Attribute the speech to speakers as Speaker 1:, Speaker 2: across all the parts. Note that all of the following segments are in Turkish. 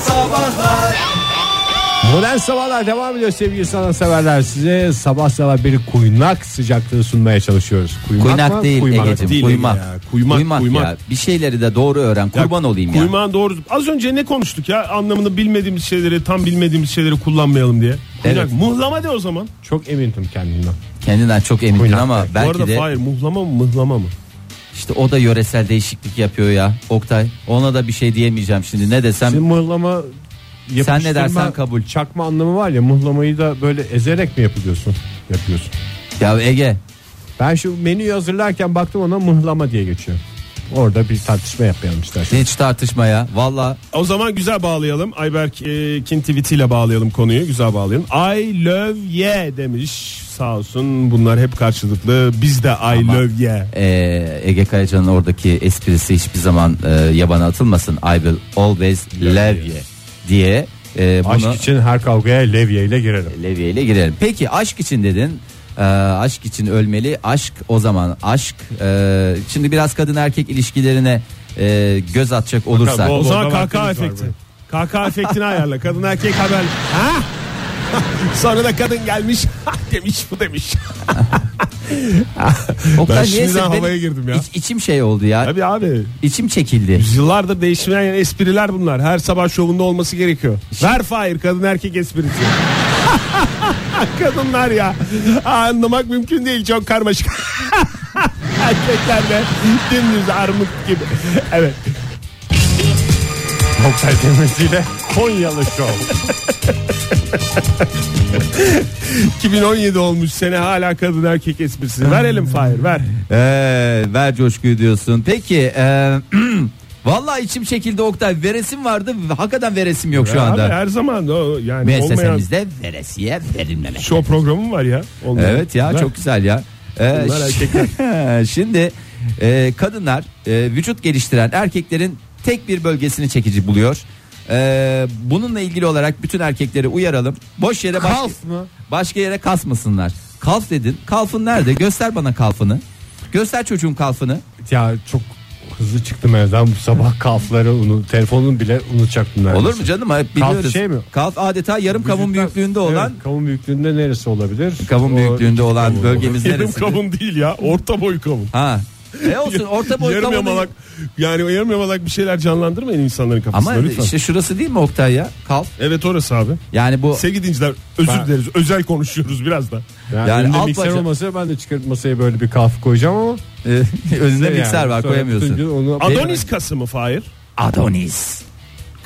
Speaker 1: Sabahlar
Speaker 2: Modern Sabahlar devam ediyor sevgili sanatseverler. Size sabah sabah bir kuynak sıcaklığı sunmaya çalışıyoruz.
Speaker 3: Kuynak
Speaker 2: mı?
Speaker 3: değil
Speaker 2: Kuymak
Speaker 3: Ege'cim
Speaker 2: mı?
Speaker 1: Değil
Speaker 3: kuymak.
Speaker 1: Ege ya, kuymak, kuymak.
Speaker 3: ya. Bir şeyleri de doğru öğren kurban olayım ya.
Speaker 1: Kuymağın doğru. Az önce ne konuştuk ya? Anlamını bilmediğimiz şeyleri, tam bilmediğimiz şeyleri kullanmayalım diye. Kuynak.
Speaker 3: Evet.
Speaker 1: Muhlama de o zaman.
Speaker 2: Çok emindim kendimden.
Speaker 3: Kendinden çok eminim
Speaker 2: Kuynak
Speaker 3: ama
Speaker 2: değil.
Speaker 1: Bu
Speaker 3: belki
Speaker 1: arada
Speaker 3: de
Speaker 1: hayır muhlama mı mıhlama mı?
Speaker 3: işte o da yöresel değişiklik yapıyor ya Oktay. Ona da bir şey diyemeyeceğim şimdi ne desem.
Speaker 2: Şimdi mıhlama yapıştırma,
Speaker 3: Sen ne dersen kabul.
Speaker 2: Çakma anlamı var ya mıhlamayı da böyle ezerek mi yapıyorsun? Yapıyorsun.
Speaker 3: Ya Ege
Speaker 2: Ben şu menüyü hazırlarken baktım ona mıhlama diye geçiyor. Orada bir tartışma yapmayalım istersen.
Speaker 3: hiç tartışma ya. Valla
Speaker 1: O zaman güzel bağlayalım. Ayberk e, kin tweetiyle bağlayalım konuyu. Güzel bağlayalım. I love ye demiş. Sağ olsun bunlar hep karşılıklı. Biz de I love ye.
Speaker 3: Ee, Ege Kayacan'ın oradaki esprisi hiçbir zaman e, yabana atılmasın. I will always love you diye e, bunu
Speaker 2: Aşk için her kavgaya levye ile girerim.
Speaker 3: Levye ile girelim. Peki aşk için dedin. Ee, aşk için ölmeli. Aşk o zaman aşk. e, şimdi biraz kadın erkek ilişkilerine e, göz atacak olursak.
Speaker 1: O zaman
Speaker 2: Orada
Speaker 1: KK
Speaker 2: vaktimiz var
Speaker 1: efekti. KK efektini ayarla. Kadın erkek haber. Ha? Sonra da kadın gelmiş demiş bu demiş.
Speaker 3: Oktay,
Speaker 1: Ben şimdiden
Speaker 3: niyeyse
Speaker 1: havaya
Speaker 3: benim
Speaker 1: girdim ya.
Speaker 3: iç- içim şey oldu ya.
Speaker 1: Abi abi
Speaker 3: İçim çekildi.
Speaker 1: yıllardır değişmeyen espriler bunlar. Her sabah şovunda olması gerekiyor. Ver Fahir kadın erkek esprisi. Kadınlar ya anlamak mümkün değil çok karmaşık. Erkekler de dümdüz armut gibi. Evet.
Speaker 2: Oktay demesiyle Konyalı şov.
Speaker 1: 2017 olmuş sene hala kadın erkek esprisi. Verelim Fahir ver.
Speaker 3: Ee, ver coşkuyu diyorsun. Peki e, vallahi içim çekildi Oktay. Veresim vardı. Hakikaten veresim yok şu anda.
Speaker 1: Abi her zaman o yani olmayan
Speaker 3: Müessesemizde veresiye verilmemek.
Speaker 1: şov programı var ya. Olmayan.
Speaker 3: Evet ya
Speaker 1: Güzel.
Speaker 3: çok güzel ya. Ee,
Speaker 1: Bunlar
Speaker 3: şimdi e, kadınlar e, vücut geliştiren erkeklerin tek bir bölgesini çekici buluyor. E, bununla ilgili olarak bütün erkekleri uyaralım. Boş yere başka,
Speaker 2: Kalf mı?
Speaker 3: başka yere kasmasınlar. Kalf dedin. Kalfın nerede? Göster bana kalfını. Göster çocuğun kalfını.
Speaker 2: Ya çok hızlı çıktım evden bu sabah kalfları unu, telefonunu bile unutacaktım neredeyse.
Speaker 3: Olur mu canım? Hep
Speaker 2: Kalf
Speaker 3: Biliyoruz.
Speaker 2: şey mi?
Speaker 3: Kalf adeta yarım kavun
Speaker 2: Vücutlar-
Speaker 3: büyüklüğünde olan
Speaker 2: Evet, kavun büyüklüğünde neresi olabilir?
Speaker 3: kavun
Speaker 2: O
Speaker 3: büyüklüğünde olan
Speaker 2: kavun.
Speaker 3: bölgemiz
Speaker 1: Yarım
Speaker 3: neresi?
Speaker 1: kavun değil ya orta boy kavun.
Speaker 3: Ha. Ne olsun orta boy
Speaker 1: yarım
Speaker 3: kavun.
Speaker 1: yamalak yani yarım yamalak bir şeyler canlandırmayın insanların kafasında
Speaker 3: Ama
Speaker 1: lütfen.
Speaker 3: işte şurası değil mi Oktay ya? Kalf.
Speaker 1: Evet orası abi.
Speaker 3: Yani bu
Speaker 1: Sevgili dinciler özür
Speaker 2: Ben-
Speaker 1: dileriz. Özel konuşuyoruz biraz da.
Speaker 2: Yani,
Speaker 3: Yani
Speaker 2: önünde
Speaker 3: alt
Speaker 2: mikser
Speaker 3: bacağı-
Speaker 2: olmasa ben de çıkarıp masaya böyle bir kahve koyacağım ama.
Speaker 3: e, önünde
Speaker 2: Yani
Speaker 3: mikser var
Speaker 2: sonra bütün gün
Speaker 3: koyamıyorsun.
Speaker 2: Onu... E,
Speaker 1: Adonis kası mı Fahir?
Speaker 3: Adonis.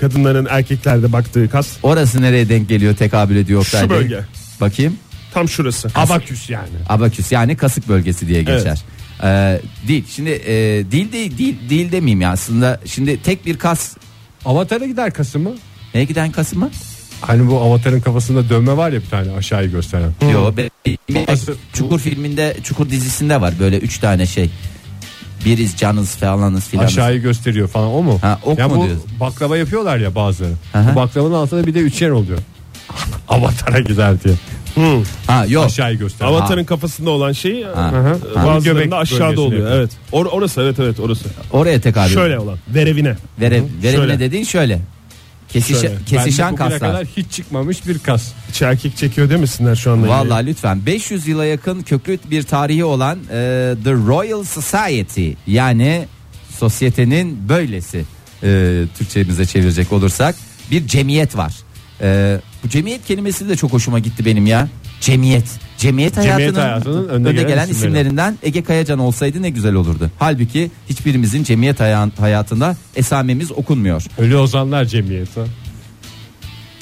Speaker 1: Kadınların erkeklerde baktığı kas
Speaker 3: Orası nereye denk geliyor tekabül ediyor Oktay
Speaker 1: Şu
Speaker 3: Bey?
Speaker 1: bölge.
Speaker 3: Bakayım.
Speaker 1: tam şurası.
Speaker 2: Abaküs yani.
Speaker 3: Abaküs yani kasık bölgesi diye geçer. Ee, dil. Şimdi e, dil de dil, dil demeyeyim ya aslında. Şimdi tek bir kas.
Speaker 2: Avatar'a gider kası mı?
Speaker 3: Neye giden kas mı?
Speaker 2: Hani bu avatarın kafasında dövme var ya bir tane aşağıyı gösteren.
Speaker 3: Yo, be-
Speaker 2: Hmm. Kası-
Speaker 3: Çukur filminde Çukur dizisinde var böyle üç tane şey. Biriz canız falanız filanız.
Speaker 2: Aşağıyı gösteriyor falan o mu?
Speaker 3: Ha, ok
Speaker 2: ya
Speaker 3: mu
Speaker 2: bu
Speaker 3: diyorsun?
Speaker 2: baklava yapıyorlar ya bazıları.
Speaker 3: Aha.
Speaker 2: Bu baklavanın altında bir de üçgen oluyor. Avatar'a gider diye.
Speaker 3: Ha yok.
Speaker 2: Aşağıyı gösteren.
Speaker 1: Avatarın kafasında olan şey
Speaker 3: Ha.
Speaker 2: Göbek
Speaker 1: bazılarında aşağıda
Speaker 2: bölgesine
Speaker 1: oluyor.
Speaker 2: yakın.
Speaker 1: Evet. Or- orası evet evet orası.
Speaker 3: Oraya tekabül.
Speaker 1: Şöyle olan. Verevine.
Speaker 3: Vere, verevine
Speaker 1: Şöyle.
Speaker 3: dediğin şöyle. Kesişe,
Speaker 1: Şöyle.
Speaker 3: kesişen
Speaker 2: Bende Hani bugüne
Speaker 3: kaslar.
Speaker 2: kadar hiç çıkmamış bir kas.
Speaker 1: Hiç erkek çekiyor demesinler şu anda.
Speaker 3: Vallahi lütfen 500 yıla yakın köklü bir tarihi olan e, The Royal Society yani sosyetenin böylesi e, Türkçemize çevirecek olursak bir cemiyet var. E, bu cemiyet kelimesi de çok hoşuma gitti benim ya. Cemiyet. Cemiyet hayatının,
Speaker 2: hayatının önde
Speaker 3: önde
Speaker 2: gelen
Speaker 3: gelen
Speaker 2: isimleri.
Speaker 3: isimlerinden Ege Kayacan olsaydı ne güzel olurdu. Halbuki hiçbirimizin cemiyet haya- hayatında esamemiz okunmuyor.
Speaker 2: Ölü Ozanlar Cemiyeti.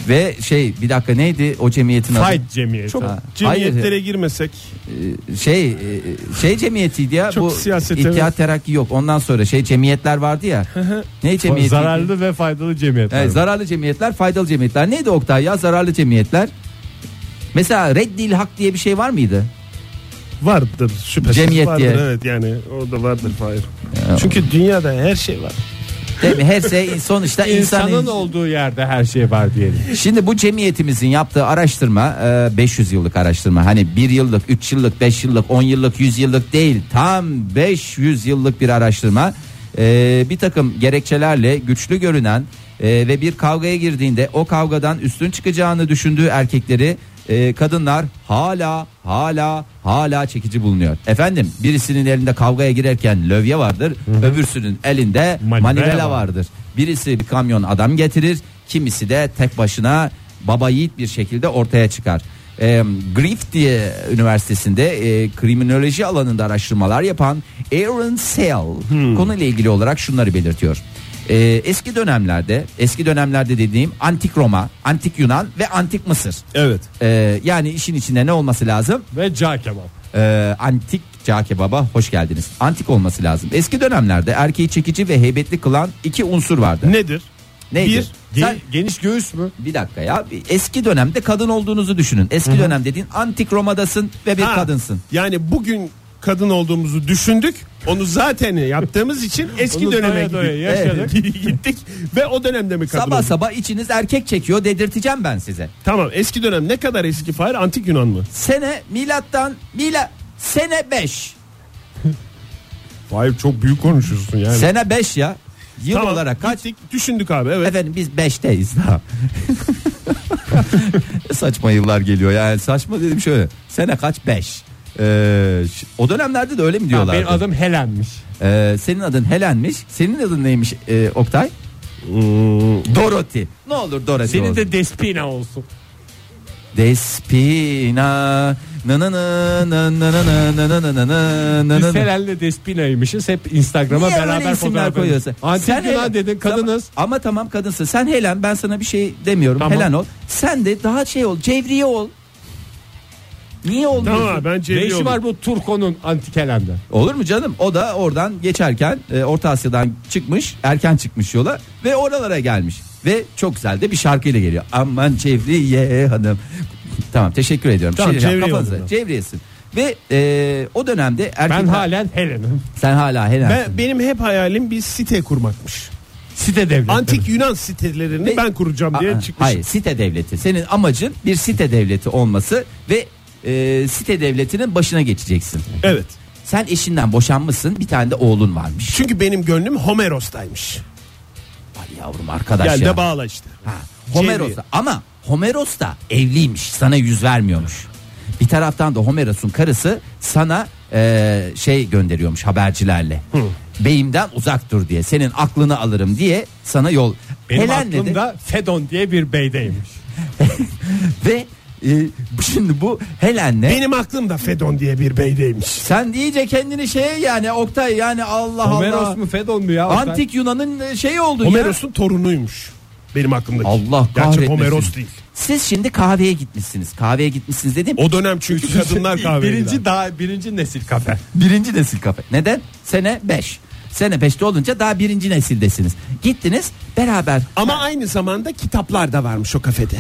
Speaker 3: Ve şey bir dakika neydi o cemiyetin adı?
Speaker 2: Fight Cemiyeti.
Speaker 1: Çok
Speaker 3: Ha,
Speaker 1: cemiyetlere
Speaker 3: hayır.
Speaker 1: girmesek.
Speaker 3: şey e, şey cemiyetiydi ya
Speaker 1: Çok
Speaker 3: bu
Speaker 1: siyaset,
Speaker 3: İttihat
Speaker 1: evet.
Speaker 3: Terakki yok. Ondan sonra şey cemiyetler vardı ya. ne cemiyeti?
Speaker 2: Zararlı ve faydalı cemiyetler.
Speaker 3: Evet, zararlı cemiyetler, faydalı cemiyetler. Neydi Oktay ya zararlı cemiyetler? Mesela reddil hak diye bir şey var mıydı?
Speaker 1: Vardır şüphesiz
Speaker 3: Cemiyet
Speaker 1: vardır
Speaker 3: diye.
Speaker 1: evet yani o da vardır Fahir. Çünkü dünyada her şey var.
Speaker 3: Değil mi? Her şey sonuçta
Speaker 2: İnsanın
Speaker 3: insanın
Speaker 2: olduğu yerde her şey var diyelim.
Speaker 3: Şimdi bu cemiyetimizin yaptığı araştırma e, 500 yıllık araştırma. Hani 1 yıllık, 3 yıllık, 5 yıllık, 10 yıllık, 100 yıllık değil. Tam 500 yıllık bir araştırma. e, bir takım gerekçelerle güçlü görünen e, ve bir kavgaya girdiğinde o kavgadan üstün çıkacağını düşündüğü erkekleri e, kadınlar hala hala hala çekici bulunuyor. Efendim birisinin elinde kavgaya girerken lövye vardır öbürsünün elinde
Speaker 1: Manivela
Speaker 3: manivela
Speaker 1: var.
Speaker 3: vardır. Birisi bir kamyon adam getirir kimisi de tek başına baba yiğit bir şekilde ortaya çıkar. E, Griffith diye üniversitesinde e, kriminoloji alanında araştırmalar yapan Aaron Sell konuyla ilgili olarak şunları belirtiyor. E, eski dönemlerde eski dönemlerde dediğim antik Roma, antik Yunan ve antik Mısır.
Speaker 1: Evet.
Speaker 3: E, yani işin içinde ne olması lazım?
Speaker 2: Ve cağ kebap.
Speaker 3: Ee, antik Cake Baba hoş geldiniz. Antik olması lazım. Eski dönemlerde erkeği çekici ve heybetli kılan iki unsur vardı.
Speaker 1: Nedir?
Speaker 3: Neydi?
Speaker 1: Bir,
Speaker 3: Sen-
Speaker 2: Geniş göğüs mü?
Speaker 3: bir dakika ya. Bir Eski dönemde kadın olduğunuzu düşünün. Eski dönem dediğin antik Roma'dasın ve bir
Speaker 1: Ha,
Speaker 3: kadınsın.
Speaker 1: Yani bugün kadın olduğumuzu düşündük. Onu zaten yaptığımız için eski
Speaker 2: Onu
Speaker 1: döneme
Speaker 2: doya
Speaker 1: gittik.
Speaker 2: doya yaşadık.
Speaker 1: Evet. gittik ve o dönemde mi kadın
Speaker 3: Sabah
Speaker 1: olduk?
Speaker 3: sabah içiniz erkek çekiyor dedirteceğim ben size.
Speaker 1: Tamam eski dönem ne kadar eski Fahir? Antik Yunan mı?
Speaker 3: Sene milattan mila sene 5.
Speaker 1: Fahir çok büyük konuşuyorsun yani.
Speaker 3: Sene 5 ya. Yıl olarak kaç?
Speaker 1: Gittik, düşündük abi evet.
Speaker 3: Efendim biz 5'teyiz daha. saçma yıllar geliyor yani saçma dedim şöyle sene kaç 5 o dönemlerde de öyle mi diyorlar
Speaker 2: Benim adım Helen'miş.
Speaker 3: Ee, senin adın Helen'miş senin adın neymiş e, Oktay Dorothy ne olur Dorothy
Speaker 2: Hmm. Senin
Speaker 3: olsun.
Speaker 2: de Despina olsun.
Speaker 3: Despina na na na na na na na na na na na na na
Speaker 2: Biz
Speaker 3: na
Speaker 2: Helen'le Despina'ymışız. Hep Instagram'a
Speaker 3: Niye öyle
Speaker 2: beraber
Speaker 3: isimler
Speaker 2: fotoğraf
Speaker 3: koyuyorsun?
Speaker 2: koyuyorsun. Antik
Speaker 3: Sen
Speaker 2: Yunan
Speaker 3: Helen-
Speaker 2: dedin kadınız.
Speaker 3: Tamam, ama tamam kadınsın. Sen Helen ben sana bir şey demiyorum.
Speaker 2: Tamam.
Speaker 3: Helen ol. Sen de daha şey ol. Cevriye ol. Niye olmuyorsun?
Speaker 1: Tamam abi, bence
Speaker 2: Ne
Speaker 1: iyi
Speaker 2: işi
Speaker 1: oldu.
Speaker 2: var bu Turko'nun antik Helen'de?
Speaker 3: Olur mu canım? O da oradan geçerken e, Orta Asya'dan çıkmış, erken çıkmış yola ve oralara gelmiş. Ve çok güzel de bir şarkıyla geliyor. Aman Cevriye hanım. tamam teşekkür ediyorum.
Speaker 1: Tamam,
Speaker 3: Şey diyeceğim,
Speaker 1: Cevriye
Speaker 3: kafanıza.
Speaker 1: oldu.
Speaker 3: Cevriyesin. Ve e, o dönemde erkekler...
Speaker 2: Ben halen Helen'im.
Speaker 3: Sen hala Helen.
Speaker 1: Ben, benim hep hayalim bir site kurmakmış.
Speaker 2: Site devleti.
Speaker 1: Antik Yunan sitelerini
Speaker 3: Ve-
Speaker 1: ben kuracağım diye
Speaker 3: Aa,
Speaker 1: çıkmış.
Speaker 3: Hayır site devleti. Senin amacın bir site devleti olması ve e, site devletinin başına geçeceksin.
Speaker 1: Evet.
Speaker 3: Sen eşinden boşanmışsın bir tane de oğlun varmış.
Speaker 1: Çünkü benim gönlüm Homeros'taymış.
Speaker 3: Ay yavrum arkadaş
Speaker 1: Gel
Speaker 3: ya.
Speaker 1: de bağla işte.
Speaker 3: Ha, Homeros da ama Homeros da evliymiş sana yüz vermiyormuş. Bir taraftan da Homeros'un karısı sana e, şey gönderiyormuş habercilerle. Beyimden uzak dur diye senin aklını alırım diye sana yol.
Speaker 2: Benim
Speaker 3: Helen'le de-
Speaker 2: aklımda Fedon diye bir beydeymiş.
Speaker 3: ve e, şimdi bu Helen'le
Speaker 1: Benim aklımda Fedon diye bir beydeymiş.
Speaker 3: Sen iyice kendini şey yani Oktay yani Allah Allah.
Speaker 2: Homeros mu Fedon mu ya?
Speaker 3: Antik Yunan'ın e, şeyi oldu ya.
Speaker 1: Homeros'un torunuymuş. Benim aklımdaki.
Speaker 3: Allah
Speaker 1: Gerçi
Speaker 3: kahretmesin.
Speaker 1: Homeros değil.
Speaker 3: Siz şimdi kahveye gitmişsiniz. Kahveye gitmişsiniz dedim.
Speaker 1: O dönem çünkü kadınlar kahve
Speaker 2: Birinci daha birinci nesil kafe.
Speaker 3: Birinci nesil kafe. Neden? Sene 5. Sene 5'te olunca daha birinci nesildesiniz. Gittiniz beraber.
Speaker 1: Ama aynı zamanda kitaplar da varmış o kafede.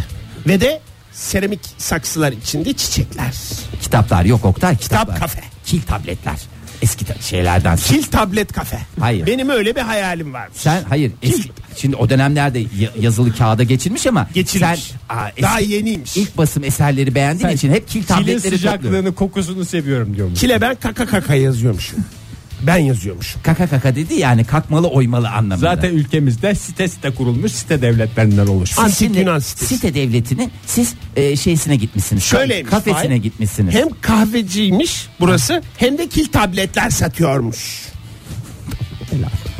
Speaker 1: Ve de seramik saksılar içinde çiçekler.
Speaker 3: Kitaplar yok Oktay kitaplar.
Speaker 1: kafe.
Speaker 3: Kil tabletler. Eski ta- şeylerden.
Speaker 1: Kil tablet kafe.
Speaker 3: Hayır.
Speaker 1: Benim öyle bir hayalim varmış.
Speaker 3: Sen hayır eski, şimdi o dönemlerde ya- yazılı kağıda geçilmiş ama
Speaker 1: Geçilmiş.
Speaker 3: sen aa, eski-
Speaker 1: Daha yeniymiş.
Speaker 3: ilk basım eserleri beğendiğin için hep kil
Speaker 2: Kilin
Speaker 3: tabletleri topluyorsun.
Speaker 2: sıcaklığını kokusunu seviyorum diyormuş.
Speaker 1: Kile ben kaka kaka yazıyormuşum. Ben yazıyormuşum.
Speaker 3: kaka kaka dedi yani kakmalı oymalı anlamında.
Speaker 2: Zaten ülkemizde site site kurulmuş site devletlerinden oluşmuş.
Speaker 1: Antik
Speaker 3: Şimdi
Speaker 1: Yunan sitesi.
Speaker 3: Site devletinin siz e, şeysine gitmişsiniz.
Speaker 1: Şöyleymiş,
Speaker 3: kafesine
Speaker 1: Fahir.
Speaker 3: gitmişsiniz.
Speaker 1: Hem kahveciymiş burası hem de kil tabletler satıyormuş.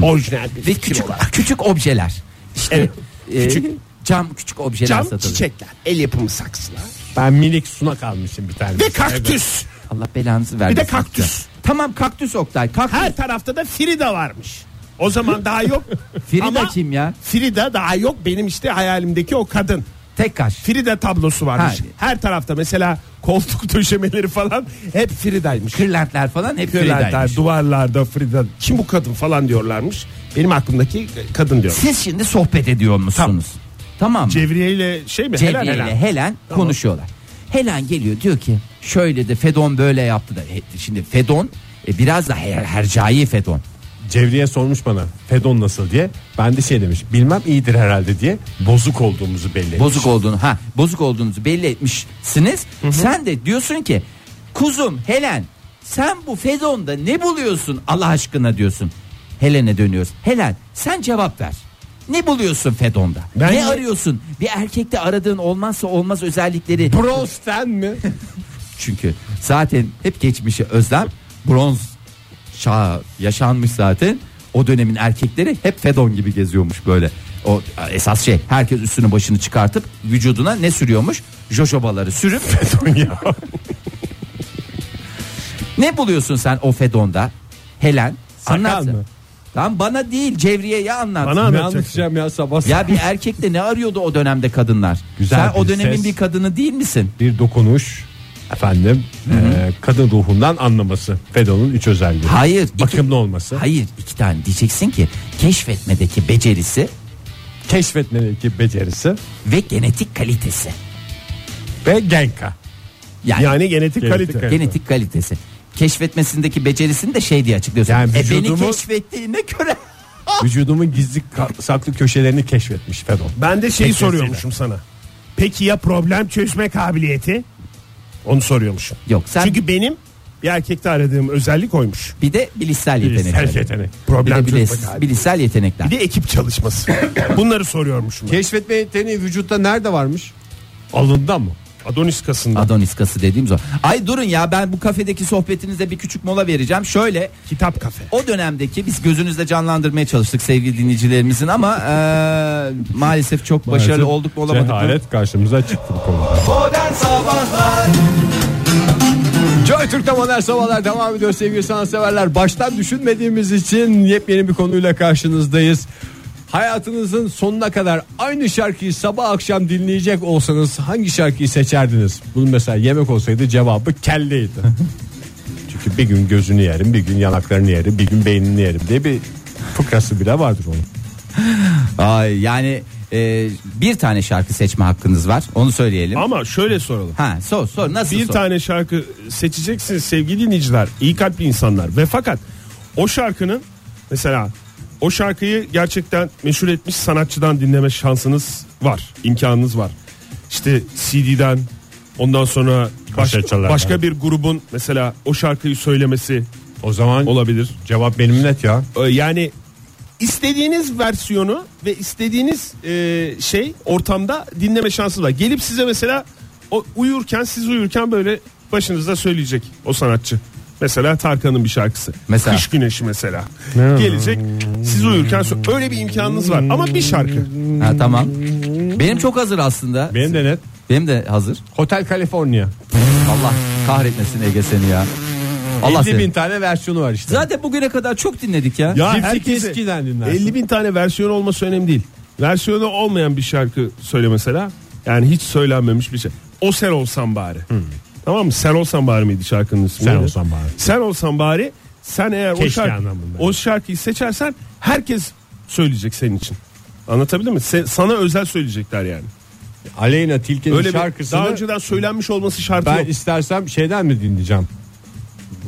Speaker 1: Orijinal bir
Speaker 3: Ve
Speaker 1: fikir
Speaker 3: küçük
Speaker 1: olarak.
Speaker 3: küçük objeler. İşte
Speaker 1: Evet,
Speaker 3: e,
Speaker 1: küçük.
Speaker 3: cam küçük objeler
Speaker 1: Cam
Speaker 3: e, satılıyor.
Speaker 1: çiçekler, el yapımı saksılar
Speaker 2: Ben minik sunak almışım bir tane.
Speaker 1: ve kaktüs.
Speaker 3: Allah belanızı vermesin.
Speaker 1: Bir de kaktüs.
Speaker 3: size. Tamam kaktüs Oktay. Kaktüs.
Speaker 1: Her tarafta da Frida varmış. O zaman daha yok.
Speaker 3: Frida
Speaker 1: Ama
Speaker 3: kim ya?
Speaker 1: Frida daha yok. Benim işte hayalimdeki o kadın.
Speaker 3: Tek kaş.
Speaker 1: Frida tablosu varmış.
Speaker 3: Ha.
Speaker 1: Her tarafta mesela koltuk döşemeleri falan hep Frida'ymış.
Speaker 3: Kırlentler falan hep
Speaker 1: Kırlentler,
Speaker 3: Frida'ymış.
Speaker 1: duvarlarda Frida. Kim bu kadın falan diyorlarmış. Benim aklımdaki kadın diyor.
Speaker 3: Siz şimdi sohbet ediyor musunuz? Tamam. mı?
Speaker 1: Cevriye ile şey mi?
Speaker 3: Cevriye
Speaker 1: Helen,
Speaker 3: ile Helen,
Speaker 1: Helen. Tamam.
Speaker 3: konuşuyorlar. Helen geliyor diyor ki şöyle de Fedon böyle yaptı da. E, Şimdi Fedon e, biraz da her, hercai Fedon.
Speaker 2: Cevriye sormuş bana Fedon nasıl diye. Ben de şey demiş bilmem iyidir herhalde diye bozuk olduğumuzu belli.
Speaker 3: Bozuk olduğunu ha bozuk olduğunuzu belli etmişsiniz. Sen de diyorsun ki kuzum Helen sen bu Fedon'da ne buluyorsun Allah aşkına diyorsun. Helen'e dönüyoruz. Helen sen cevap ver. Ne buluyorsun Fedon'da?
Speaker 1: Ben-
Speaker 3: ne arıyorsun? Bir erkekte aradığın olmazsa olmaz özellikleri.
Speaker 2: Brons'ten mi?
Speaker 3: Çünkü zaten hep geçmişi özlem bronz çağı yaşanmış zaten. O dönemin erkekleri hep Fedon gibi geziyormuş böyle. O esas şey herkes üstünü başını çıkartıp vücuduna ne sürüyormuş? Jojobaları sürüp ne buluyorsun sen o Fedon'da? Helen
Speaker 2: Sakal
Speaker 3: anlat.
Speaker 2: mı?
Speaker 3: Lan bana değil Cevriye'ye anlat. şey.
Speaker 1: Bana
Speaker 2: ne
Speaker 1: anlatacaksın.
Speaker 2: anlatacağım ya sabah
Speaker 3: Ya bir erkekte ne arıyordu o dönemde kadınlar?
Speaker 2: Güzel
Speaker 3: sen o
Speaker 2: bir
Speaker 3: dönemin
Speaker 2: ses.
Speaker 3: bir kadını değil misin?
Speaker 2: bir dokunuş efendim e, kadın ruhundan anlaması Fedon'un üç özelliği.
Speaker 3: Hayır. iki-
Speaker 2: Bakımlı olması.
Speaker 3: Hayır iki tane diyeceksin ki keşfetmedeki becerisi
Speaker 2: Keşfetmedeki becerisi
Speaker 3: ve genetik kalitesi.
Speaker 2: ve genka.
Speaker 3: Yani,
Speaker 1: Yani genetik,
Speaker 2: Genetik
Speaker 1: kalite.
Speaker 2: kalite.
Speaker 3: genetik kalitesi. Keşfetmesindeki becerisini de şey diye açıklıyorsun.
Speaker 2: Yani
Speaker 3: e beni
Speaker 2: vücudumu-
Speaker 3: keşfettiğine göre
Speaker 2: Ah! Vücudumun gizli ka- saklı köşelerini keşfetmiş Fedon.
Speaker 1: Ben de şeyi
Speaker 2: Tek
Speaker 1: soruyormuşum sana. Peki ya problem çözme kabiliyeti? Onu soruyormuşum.
Speaker 3: Yok, sen-
Speaker 1: Çünkü benim bir erkekte aradığım özellik oymuş.
Speaker 3: bir de bilişsel yetenekler.
Speaker 1: Erkek yetenek.
Speaker 3: Bir
Speaker 1: Problem
Speaker 3: de
Speaker 1: çözme
Speaker 3: bilis-
Speaker 1: kabiliyeti.
Speaker 3: bilişsel yetenekler.
Speaker 1: Bir de ekip çalışması. Bunları soruyormuşum. ben.
Speaker 2: Keşfetme yeteneği vücutta nerede varmış? Alında mı?
Speaker 1: Adonis kasında.
Speaker 3: Adonis kası dediğimiz o. Ay durun ya ben bu kafedeki sohbetinize bir küçük mola vereceğim. Şöyle
Speaker 1: Kitap kafe.
Speaker 3: o dönemdeki biz gözünüzde canlandırmaya çalıştık sevgili dinleyicilerimizin ama eee, maalesef çok başarılı olduk mu olamadık mı?
Speaker 2: Cehalet karşımıza çıktı bu konuda. Joy Türk'te modern sabahlar devam ediyor sevgili sanatseverler. Baştan düşünmediğimiz için yepyeni bir konuyla karşınızdayız. Hayatınızın sonuna kadar aynı şarkıyı sabah akşam dinleyecek olsanız hangi şarkıyı seçerdiniz? Bunun mesela yemek olsaydı cevabı kelleydi. Çünkü bir gün gözünü yerim, bir gün yanaklarını yerim, bir gün beynini yerim diye bir fıkrası bile vardır onun.
Speaker 3: Ay yani e, bir tane şarkı seçme hakkınız var. Onu söyleyelim.
Speaker 1: Ama şöyle soralım.
Speaker 3: Ha sor sor nasıl
Speaker 1: Bir
Speaker 3: sor?
Speaker 1: tane şarkı seçeceksiniz sevgili dinleyiciler. iyi kalpli insanlar. Ve fakat o şarkının mesela o şarkıyı gerçekten meşhur etmiş sanatçıdan dinleme şansınız var. imkanınız var. İşte CD'den ondan sonra baş-
Speaker 2: Kasetçilerden.
Speaker 1: başka bir grubun mesela o şarkıyı söylemesi
Speaker 2: O zaman
Speaker 1: olabilir.
Speaker 2: cevap benim net ya.
Speaker 1: Ee, yani istediğiniz versiyonu ve istediğiniz e, şey ortamda dinleme şansı var. Gelip size mesela o uyurken siz uyurken böyle başınızda söyleyecek o sanatçı. Mesela Tarkan'ın bir şarkısı.
Speaker 3: Mesela.
Speaker 1: Kış Güneşi mesela. Gelecek siz uyurken sö- öyle bir imkanınız var ama bir şarkı.
Speaker 3: Ha, tamam. Benim çok hazır aslında.
Speaker 2: Benim de net.
Speaker 3: Benim de hazır.
Speaker 2: Hotel California.
Speaker 3: Allah kahretmesin Ege seni ya. Allah
Speaker 2: 50 bin
Speaker 3: seni.
Speaker 2: tane versiyonu var işte.
Speaker 3: Zaten bugüne kadar çok dinledik ya.
Speaker 1: Ya
Speaker 2: Cipsi
Speaker 1: herkese
Speaker 2: Keski'den dinlersin.
Speaker 1: 50 bin tane versiyon olması önemli değil. Versiyonu olmayan bir şarkı söyle mesela. Yani hiç söylenmemiş bir şey. O sen olsan bari. Tamam mı? Sen olsan bari miydi şarkının ismi?
Speaker 2: Hmm. Sen
Speaker 1: Neydi?
Speaker 2: olsan bari.
Speaker 1: Sen olsan bari. Sen eğer o,
Speaker 2: Keşke
Speaker 1: şarkı-
Speaker 2: anlamında.
Speaker 1: o şarkıyı seçersen herkes söyleyecek senin için. Anlatabildim mi? Se- sana özel söyleyecekler yani.
Speaker 2: Aleyna Tilki'nin
Speaker 1: Öyle bir
Speaker 2: şarkısını
Speaker 1: daha önceden söylenmiş olması şartı
Speaker 2: ben
Speaker 1: yok.
Speaker 2: istersem şeyden mi dinleyeceğim?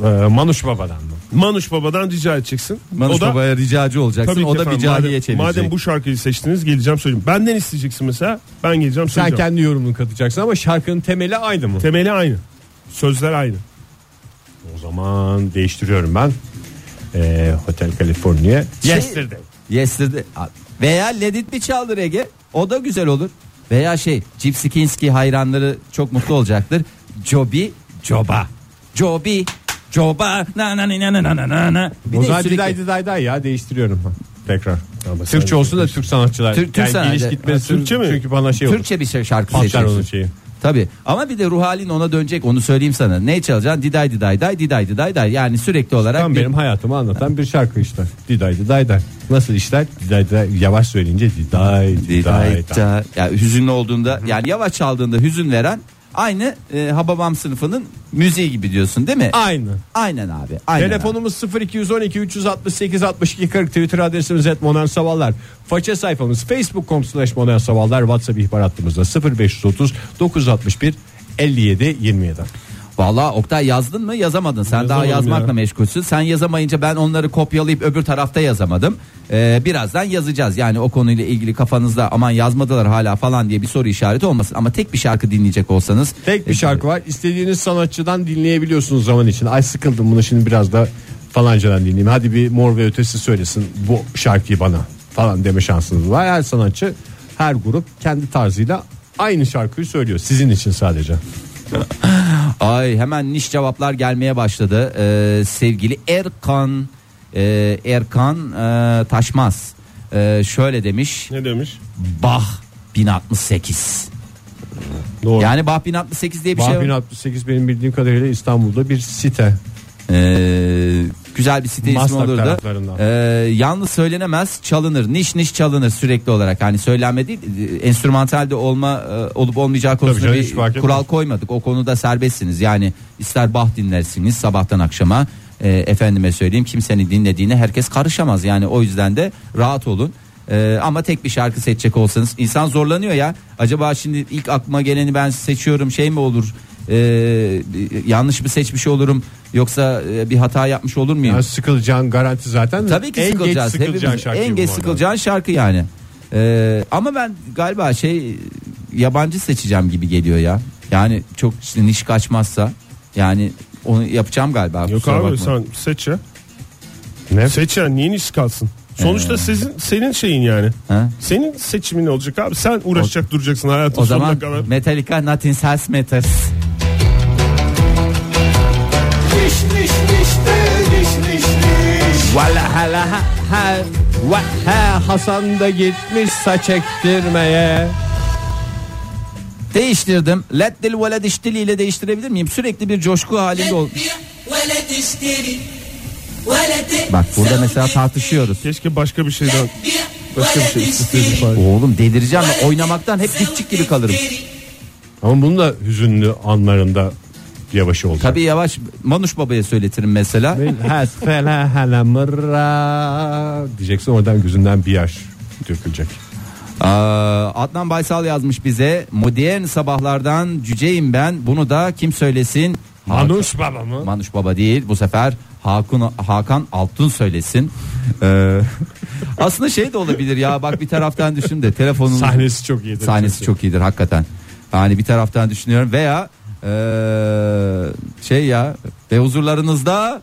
Speaker 2: Ee, Manuş Baba'dan mı?
Speaker 1: Manuş Baba'dan rica edeceksin.
Speaker 3: Manuş
Speaker 1: o da
Speaker 3: Baba'ya ricacı olacaksın.
Speaker 1: Tabii ki
Speaker 3: o da
Speaker 1: efendim,
Speaker 3: bir cariye
Speaker 1: madem,
Speaker 3: çevirecek.
Speaker 1: madem bu şarkıyı seçtiniz geleceğim söyleyeceğim. Benden isteyeceksin mesela ben geleceğim
Speaker 2: Sen
Speaker 1: söyleyeceğim.
Speaker 2: kendi yorumunu katacaksın ama şarkının temeli aynı mı?
Speaker 1: Temeli aynı. Sözler aynı.
Speaker 2: o zaman değiştiriyorum ben. Ee, Hotel California.
Speaker 3: Şey-
Speaker 2: Yesterday.
Speaker 3: Yesterday. Veya Let It Be çaldır Ege. O da güzel olur. Veya şey Gypsy Kinski hayranları çok mutlu olacaktır. Joby Joba. Joby Joba na na na na na na na na. Bir
Speaker 2: O
Speaker 3: de
Speaker 2: zaman
Speaker 3: sürekli-
Speaker 2: Diday Diday Day ya değiştiriyorum ben. Tekrar.
Speaker 1: sen-
Speaker 2: Türkçe olsun da Türk sanatçılar.
Speaker 3: Türk- Türk
Speaker 2: yani geliş
Speaker 3: sanatçı-
Speaker 2: gitmesi.
Speaker 1: Ha, Türkçe mi?
Speaker 2: Çünkü bana şey olur.
Speaker 3: Türkçe bir şey şarkı
Speaker 2: Patlar onun
Speaker 3: seçeceksin.
Speaker 2: şeyi.
Speaker 3: Tabi ama bir de ruh halin ona dönecek onu söyleyeyim sana. Ne çalacaksın? Diday diday day diday diday day yani sürekli olarak
Speaker 2: Tam
Speaker 3: bir-
Speaker 2: benim hayatımı anlatan bir şarkı işte. Diday Diday Day. Nasıl işler? Diday Diday yavaş söyleyince Diday Diday
Speaker 3: Diday
Speaker 2: Day.
Speaker 3: da- ya hüzünlü olduğunda yani yavaş çaldığında hüzün veren aynı e, Hababam sınıfının müziği gibi diyorsun değil mi?
Speaker 2: Aynı.
Speaker 3: Aynen abi. Aynen abi.
Speaker 2: Telefonumuz 0212 368 62 40 Twitter adresimiz et modern sabahlar Faça sayfamız facebook.com slash modern sabahlar Whatsapp ihbar hattımızda 0530 961 57 27
Speaker 3: Valla Oktay yazdın mı yazamadın sen daha
Speaker 2: Yazamadım
Speaker 3: yazmakla
Speaker 2: ya.
Speaker 3: meşgulsün sen yazamayınca ben onları kopyalayıp öbür tarafta yazamadım Ee, birazdan yazacağız yani o konuyla ilgili kafanızda aman yazmadılar hala falan diye bir soru işareti olmasın ama tek bir şarkı dinleyecek olsanız
Speaker 2: Tek bir
Speaker 3: e,
Speaker 2: şarkı var istediğiniz sanatçıdan dinleyebiliyorsunuz zaman için Ay sıkıldım bunu şimdi biraz da falancadan dinleyeyim. Hadi bir mor ve ötesi söylesin bu şarkıyı bana falan deme şansınız var. Her sanatçı her grup kendi tarzıyla aynı şarkıyı söylüyor. Sizin için sadece.
Speaker 3: Ay hemen niş cevaplar gelmeye başladı. Ee, sevgili Erkan e, Erkan e, Taşmaz e, şöyle demiş.
Speaker 1: Ne demiş?
Speaker 3: Bah 1068.
Speaker 1: Doğru.
Speaker 3: Yani Bah 1068 diye bir şey.
Speaker 2: Bahbin
Speaker 3: var.
Speaker 2: 68 benim bildiğim kadarıyla İstanbul'da bir site.
Speaker 3: Ee, güzel bir site ismi
Speaker 2: Maslak
Speaker 3: olurdu.
Speaker 2: taraflarından.
Speaker 3: Ee, yalnız söylenemez çalınır. Niş niş çalınır sürekli olarak. Hani söylenme değil e, enstrümantal de olma e, olup olmayacağı konusunda
Speaker 2: canım, hiç fark
Speaker 3: bir
Speaker 2: etmez.
Speaker 3: kural koymadık. O konuda serbestsiniz. Yani ister bah dinlersiniz sabahtan akşama. E, efendime söyleyeyim kimsenin dinlediğine herkes karışamaz. Yani o yüzden de rahat olun. E, ama tek bir şarkı seçecek olsanız insan zorlanıyor ya. Acaba şimdi ilk aklıma geleni ben seçiyorum şey mi olur? E, yanlış mı seçmiş olurum yoksa e, bir hata yapmış olur muyum?
Speaker 2: Yani sıkılacağın garanti zaten.
Speaker 3: Tabii ki
Speaker 2: en
Speaker 3: sıkılacağız.
Speaker 2: Geç sıkılacağın
Speaker 3: Hepimiz-
Speaker 2: şarkıyı
Speaker 3: en
Speaker 2: bu
Speaker 3: geç
Speaker 2: arada.
Speaker 3: sıkılacağın şarkı yani. Ee, ama ben galiba şey yabancı seçeceğim gibi geliyor ya. Yani çok işte niş kaçmazsa yani onu yapacağım galiba.
Speaker 1: Yok
Speaker 3: kusura
Speaker 1: abi
Speaker 3: bakma.
Speaker 1: sen seç ya.
Speaker 2: Ne?
Speaker 1: Seç ya niye niş kalsın? Sonuçta sizin senin şeyin yani.
Speaker 3: Ee. Ha?
Speaker 1: Senin seçimin olacak abi. Sen uğraşacak duracaksın hayatın
Speaker 3: O zaman
Speaker 1: sonuna kadar.
Speaker 3: Metallica Nothing Else Matters.
Speaker 4: Diş diş diş de, diş diş diş.
Speaker 2: Valla hala ha- ha- va- ha, Hasan da gitmiş saç ektirmeye.
Speaker 3: Değiştirdim. Let dil ve ile değiştirebilir miyim? Sürekli bir coşku halinde ol.
Speaker 5: ولا تشتري ولا تقبل
Speaker 3: Bak burada mesela tartışıyoruz.
Speaker 1: Keşke başka bir şeyden başka bir
Speaker 5: ولا
Speaker 1: şey
Speaker 5: تشتري
Speaker 1: isteseydin falan.
Speaker 3: Oğlum delireceğim ben oynamaktan hep dipçik gibi kalırım.
Speaker 2: Ama bunun da hüzünlü anlarında yavaş olacak.
Speaker 3: Tabii yavaş Manuş Baba'ya söyletirim mesela.
Speaker 2: Bil hasfela hala mırra diyeceksin oradan gözünden bir yaş dökülecek.
Speaker 3: Aa, Adnan Baysal yazmış bize modern sabahlardan cüceyim ben bunu da kim söylesin
Speaker 2: Manuş baba mı?
Speaker 3: Manuş Baba değil bu sefer Hakan, Hakan Altun söylesin Ee, aslında şey de olabilir ya bak bir taraftan düşün de telefonun
Speaker 2: Sahnesi çok iyi.
Speaker 3: sahnesi çok iyidir hakikaten yani bir taraftan düşünüyorum veya ee, şey ya ve huzurlarınızda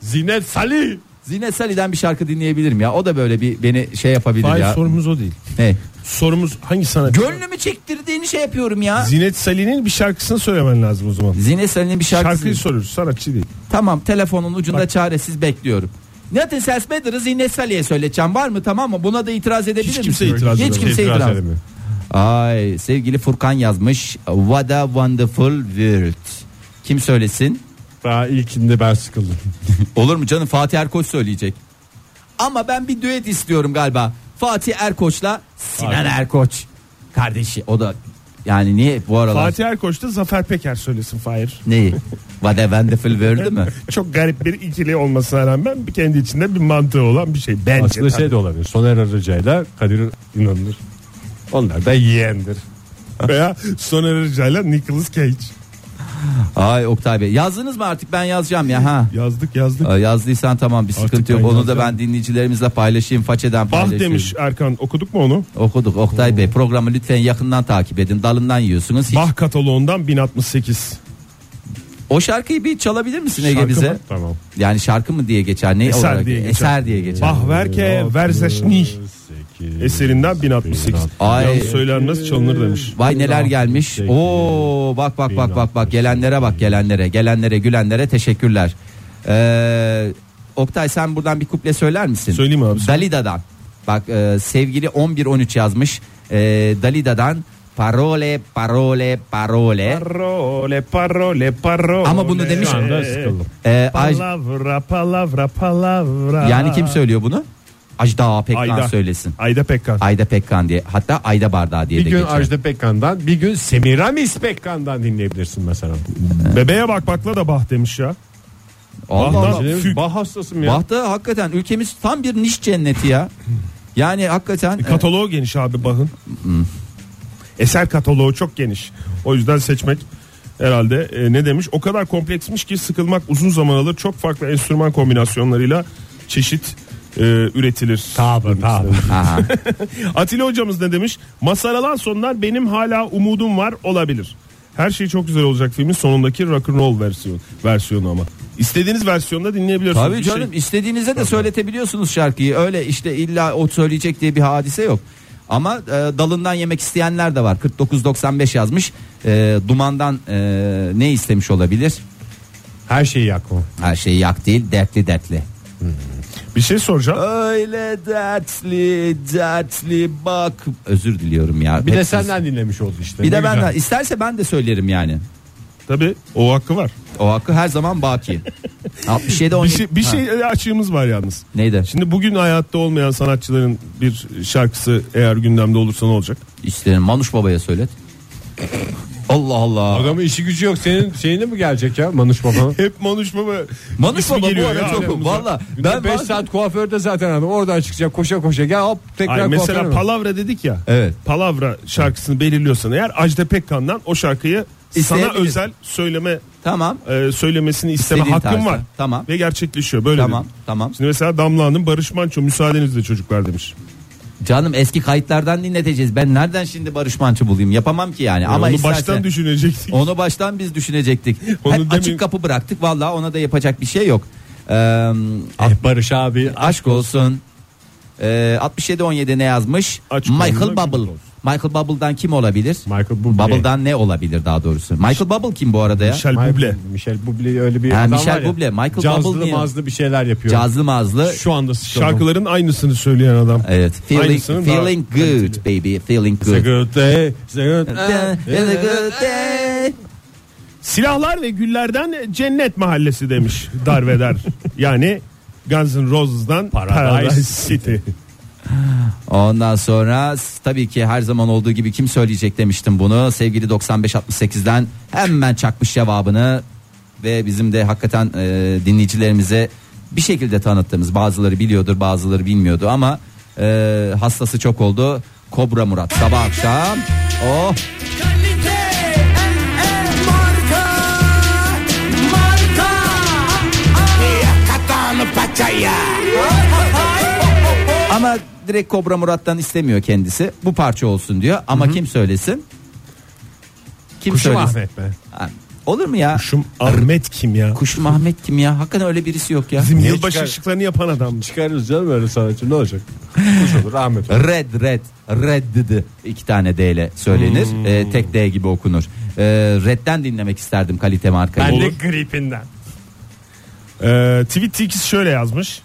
Speaker 2: Zinet Salih.
Speaker 3: Zine Salih'den bir şarkı dinleyebilirim ya o da böyle bir beni şey yapabilir
Speaker 1: Hayır
Speaker 3: ya
Speaker 1: sorumuz o değil.
Speaker 3: ne?
Speaker 1: Sorumuz hangi sanatçı?
Speaker 3: Gönlümü çektirdiğini şey yapıyorum ya.
Speaker 1: Zinet Salih'in bir şarkısını söylemen lazım o zaman.
Speaker 3: Zine Salih'in bir şarkısı.
Speaker 1: Şarkıyı soruyoruz sanatçı değil.
Speaker 3: Tamam telefonun ucunda çaresiz bekliyorum. Nothing Else Matters'ı Zine Salih'e söyleyeceğim var mı tamam mı? Buna da itiraz edebilir
Speaker 1: Hiç kimse
Speaker 3: misin?
Speaker 1: itiraz
Speaker 3: Hiç
Speaker 1: edemez.
Speaker 3: kimse
Speaker 2: İtiraz
Speaker 3: itiraz
Speaker 2: edemiyor.
Speaker 3: Ay sevgili Furkan yazmış. What a wonderful world. Kim söylesin?
Speaker 2: Daha ilkinde ben sıkıldım.
Speaker 3: Olur mu canım Fatih Erkoç söyleyecek. Ama ben bir düet istiyorum galiba. Fatih Erkoç'la Sinan Erkoç. Kardeşi o da yani niye bu aralar
Speaker 1: Fatih Erkoç da Zafer Peker söylesin Fahir.
Speaker 3: neyi? What a wonderful world mü?
Speaker 1: Çok garip bir ikili olmasına rağmen bir kendi içinde bir mantığı olan bir şey bence.
Speaker 2: Aslında şey
Speaker 1: tabii.
Speaker 2: de olabilir. Soner Arıca'yla Kadir İnanır. Onlar da yeğendir.
Speaker 1: Veya Soner Arıca'yla Nicolas Cage.
Speaker 3: Ay Oktay Bey yazdınız mı artık ben yazacağım ya ha.
Speaker 1: Yazdık yazdık.
Speaker 3: Ee, Yazdıysan tamam bir sıkıntı yok.
Speaker 1: ben
Speaker 3: Onu da
Speaker 1: yazacağım.
Speaker 3: ben dinleyicilerimizle paylaşayım. Façeden
Speaker 1: Bah
Speaker 3: paylaşayım.
Speaker 1: demiş Erkan okuduk mu onu?
Speaker 3: Okuduk Oktay Bey. Programı lütfen yakından takip edin. Dalından yiyorsunuz. Hiç-
Speaker 1: Bah kataloğundan 1068.
Speaker 3: O şarkıyı bir çalabilir misin Ege
Speaker 1: Şarkı
Speaker 3: bize?
Speaker 1: mı?
Speaker 2: Tamam.
Speaker 3: Yani şarkı mı diye geçer? Ne
Speaker 1: Eser
Speaker 3: olarak?
Speaker 1: diye geçer.
Speaker 3: Eser diye geçer.
Speaker 1: Bah verke verzeşni. Eserinden 1068.
Speaker 3: Ay.
Speaker 1: Yalnız söylenmez çalınır demiş.
Speaker 3: Vay neler gelmiş. Oo bak bak bak bak bak gelenlere bak gelenlere gelenlere gülenlere teşekkürler. Ee, Oktay sen buradan bir kuple söyler misin?
Speaker 1: Söyleyeyim abi, söyle.
Speaker 3: Dalida'dan. Bak e, sevgili 1113 yazmış. E, Dalida'dan parole parole parole.
Speaker 1: Parole parole parole. Ee,
Speaker 3: Ama bunu demiş-
Speaker 2: Şu anda sıkıldım.
Speaker 3: E, Aj-
Speaker 1: Palavra palavra palavra.
Speaker 3: yani kim söylüyor bunu? Ajda Pekkan
Speaker 1: Ayda.
Speaker 3: söylesin.
Speaker 1: Ayda Pekkan.
Speaker 3: Ayda Pekkan diye. Hatta Ayda Bardağı diye
Speaker 2: Bir
Speaker 3: de
Speaker 2: gün
Speaker 3: geçer.
Speaker 2: Ajda Pekkan'dan bir gün Semiramis Pekkan'dan dinleyebilirsin mesela.
Speaker 1: Bebeğe bak bakla da bah demiş ya.
Speaker 3: Allah Allah.
Speaker 1: Bah'tan Fük.
Speaker 2: Bah hastasım ya.
Speaker 3: Bahtı hakikaten ülkemiz tam bir niş cenneti ya. Yani hakikaten e,
Speaker 1: Kataloğu geniş abi Bach'ın.
Speaker 3: Hmm.
Speaker 1: Eser kataloğu çok geniş. O yüzden seçmek herhalde e, ne demiş? O kadar kompleksmiş ki sıkılmak uzun zaman alır. Çok farklı enstrüman kombinasyonlarıyla çeşit e, üretilir.
Speaker 2: Tabi tabi.
Speaker 3: aha.
Speaker 1: Atilla hocamız ne demiş? Masaralan sonlar benim hala umudum var olabilir. Her şey çok güzel olacak filmin sonundaki rock and roll versiyonu, versiyonu ama. İstediğiniz versiyonda dinleyebiliyorsunuz.
Speaker 3: Tabii
Speaker 1: Bir şey-
Speaker 3: canım istediğinizde de söyletebiliyorsunuz şarkıyı. Öyle işte illa o söyleyecek diye bir hadise yok. Ama e, dalından yemek isteyenler de var. 49.95 yazmış. E, dumandan e, ne istemiş olabilir?
Speaker 2: Her şey şeyi yakma.
Speaker 3: Her şeyi yak değil dertli dertli.
Speaker 1: bir şey soracağım.
Speaker 3: Öyle dertli dertli bak. Özür diliyorum ya.
Speaker 2: Bir de
Speaker 3: Hepsi-
Speaker 2: senden dinlemiş oldu işte.
Speaker 3: Bir
Speaker 2: Ne
Speaker 3: de ben
Speaker 2: güzel.
Speaker 3: de isterse ben de söylerim yani.
Speaker 1: Tabii o hakkı var.
Speaker 3: O hakkı her zaman baki. 67
Speaker 1: Bir
Speaker 3: 17.
Speaker 1: şey, bir
Speaker 3: Ha,
Speaker 1: şey açığımız var yalnız.
Speaker 3: Neydi?
Speaker 1: Şimdi bugün hayatta olmayan sanatçıların bir şarkısı eğer gündemde olursa ne olacak?
Speaker 3: İşte Manuş Baba'ya söylet. Allah Allah.
Speaker 2: Adamın işi gücü yok. Senin şeyine mi gelecek ya Manuş Baba?
Speaker 1: Hep Manuş Baba.
Speaker 3: Manuş
Speaker 1: ismi
Speaker 3: Baba bu
Speaker 1: geliyor
Speaker 3: ara
Speaker 1: ya
Speaker 3: çok
Speaker 1: aklımıza.
Speaker 3: valla. Ben
Speaker 2: Ben 5
Speaker 3: bazen-
Speaker 2: saat kuaförde zaten adam. Oradan çıkacak koşa koşa. Gel hop tekrar
Speaker 1: Ay, mesela
Speaker 2: kuaföre mi?
Speaker 1: Palavra dedik ya.
Speaker 3: Evet.
Speaker 1: Palavra şarkısını belirliyorsan eğer Ajda Pekkan'dan o şarkıyı sana
Speaker 3: İsteyebilirsin.
Speaker 1: özel söyleme
Speaker 3: Tamam.
Speaker 1: e, söylemesini isteme
Speaker 3: İstediğin
Speaker 1: hakkın
Speaker 3: tarzda.
Speaker 1: var.
Speaker 3: Tamam.
Speaker 1: Ve gerçekleşiyor böyle.
Speaker 3: Tamam,
Speaker 1: dedim.
Speaker 3: tamam.
Speaker 1: Şimdi mesela Damla Hanım Barış Manço müsaadenizle çocuklar demiş.
Speaker 3: Canım eski kayıtlardan dinleteceğiz. Ben nereden şimdi Barış Manço bulayım? Yapamam ki yani. Ama
Speaker 1: onu
Speaker 3: isterse-
Speaker 1: baştan düşünecektik.
Speaker 3: Onu baştan biz düşünecektik.
Speaker 1: Onu
Speaker 3: Hep
Speaker 1: demin-
Speaker 3: açık kapı bıraktık. Valla ona da yapacak bir şey yok. Ee,
Speaker 2: Ah Barış abi.
Speaker 3: aşk olsun. Ee, 67 17 ne yazmış?
Speaker 1: Aç
Speaker 3: Michael
Speaker 1: kolunu,
Speaker 3: Bubble.
Speaker 1: gül olsun.
Speaker 3: Michael Bubble'dan kim olabilir?
Speaker 2: Michael Bublé.
Speaker 3: Bubble'dan ne olabilir daha doğrusu? Michael Bubble kim bu arada ya?
Speaker 1: Michel Bublé.
Speaker 2: Michel Bublé öyle bir
Speaker 3: Ha,
Speaker 2: adam
Speaker 3: Michel
Speaker 2: var ya.
Speaker 3: Bublé, Michael
Speaker 2: cazlı
Speaker 3: Bublé diye.
Speaker 2: mazlı bir şeyler yapıyor.
Speaker 3: Cazlı mazlı.
Speaker 2: Şu anda şarkılar.
Speaker 1: Şarkıların aynısını söyleyen adam.
Speaker 3: Evet. Feeling,
Speaker 1: Aynısının daha
Speaker 3: feeling good baby. Feeling good.
Speaker 2: Good day, it's a good day.
Speaker 3: Feeling good day.
Speaker 1: Silahlar ve güllerden cennet mahallesi demiş Darveder. yani Guns N' Roses'dan Paradise,
Speaker 2: Paradise
Speaker 1: City.
Speaker 3: Ondan sonra s- tabii ki her zaman olduğu gibi kim söyleyecek demiştim bunu. Sevgili 9568'den hemen çakmış cevabını ve bizim de hakikaten e, dinleyicilerimize bir şekilde tanıttığımız bazıları biliyordur bazıları bilmiyordu ama e, hastası çok oldu. Kobra Murat sabah akşam. Oh
Speaker 5: Kalite en marka marka
Speaker 6: Yakatanı paçaya
Speaker 3: ama direkt Kobra Murat'tan istemiyor kendisi. Bu parça olsun diyor ama kim söylesin? Kim
Speaker 2: Kuşum
Speaker 3: söylesin?
Speaker 2: Ahmet be.
Speaker 3: Ha, Olur mu ya?
Speaker 1: Şum Ahmet kim ya?
Speaker 3: Kuşum Ahmet kim ya? Hakikaten öyle birisi yok ya.
Speaker 1: Bizim
Speaker 2: Niye
Speaker 1: yılbaşı
Speaker 2: çıkar?
Speaker 1: ışıklarını yapan adam.
Speaker 2: Çıkarırız canım öyle sanatçı ne olacak? Kuş olur Ahmet olur.
Speaker 3: Red red red dedi iki tane D ile söylenir
Speaker 1: Hmm.
Speaker 3: Ee, tek D gibi okunur Ee, redden dinlemek isterdim kalite markayı
Speaker 1: Ben de-
Speaker 2: gripinden.
Speaker 1: Ee, tweet Tilkis şöyle yazmış.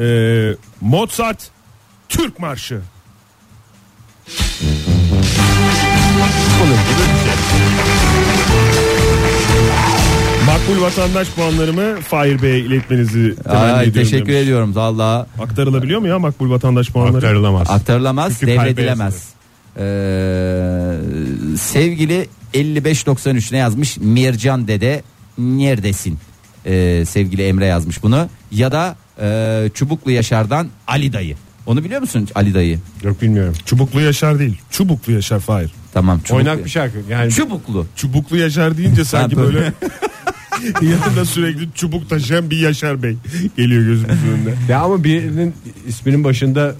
Speaker 1: Ee, Mozart Türk Marşı. Makbul vatandaş puanlarımı Fahir Bey'e iletmenizi temenni
Speaker 3: Ay,
Speaker 1: ediyorum.
Speaker 3: teşekkür
Speaker 1: demiş.
Speaker 3: ediyorum valla
Speaker 1: Aktarılabiliyor mu ya makbul vatandaş puanları?
Speaker 2: Aktarılamaz.
Speaker 3: aktarılamaz
Speaker 1: Çünkü
Speaker 3: devredilemez Ee, sevgili 5593 ne yazmış Mircan dede neredesin Ee, sevgili Emre yazmış bunu ya da e, Çubuklu Yaşar'dan Ali dayı onu biliyor musun Ali dayı
Speaker 2: Yok bilmiyorum.
Speaker 1: Çubuklu Yaşar değil. Çubuklu Yaşar Fahir.
Speaker 3: tamam Çubuklu.
Speaker 2: Oynak bir şey- şarkı. Yani
Speaker 3: Çubuklu
Speaker 1: Çubuklu Yaşar deyince sanki
Speaker 3: Ha, böyle.
Speaker 1: böyle yanında sürekli çubuk taşıyan bir Yaşar Bey geliyor gözümüzün önüne.
Speaker 2: Ya ama birinin isminin başında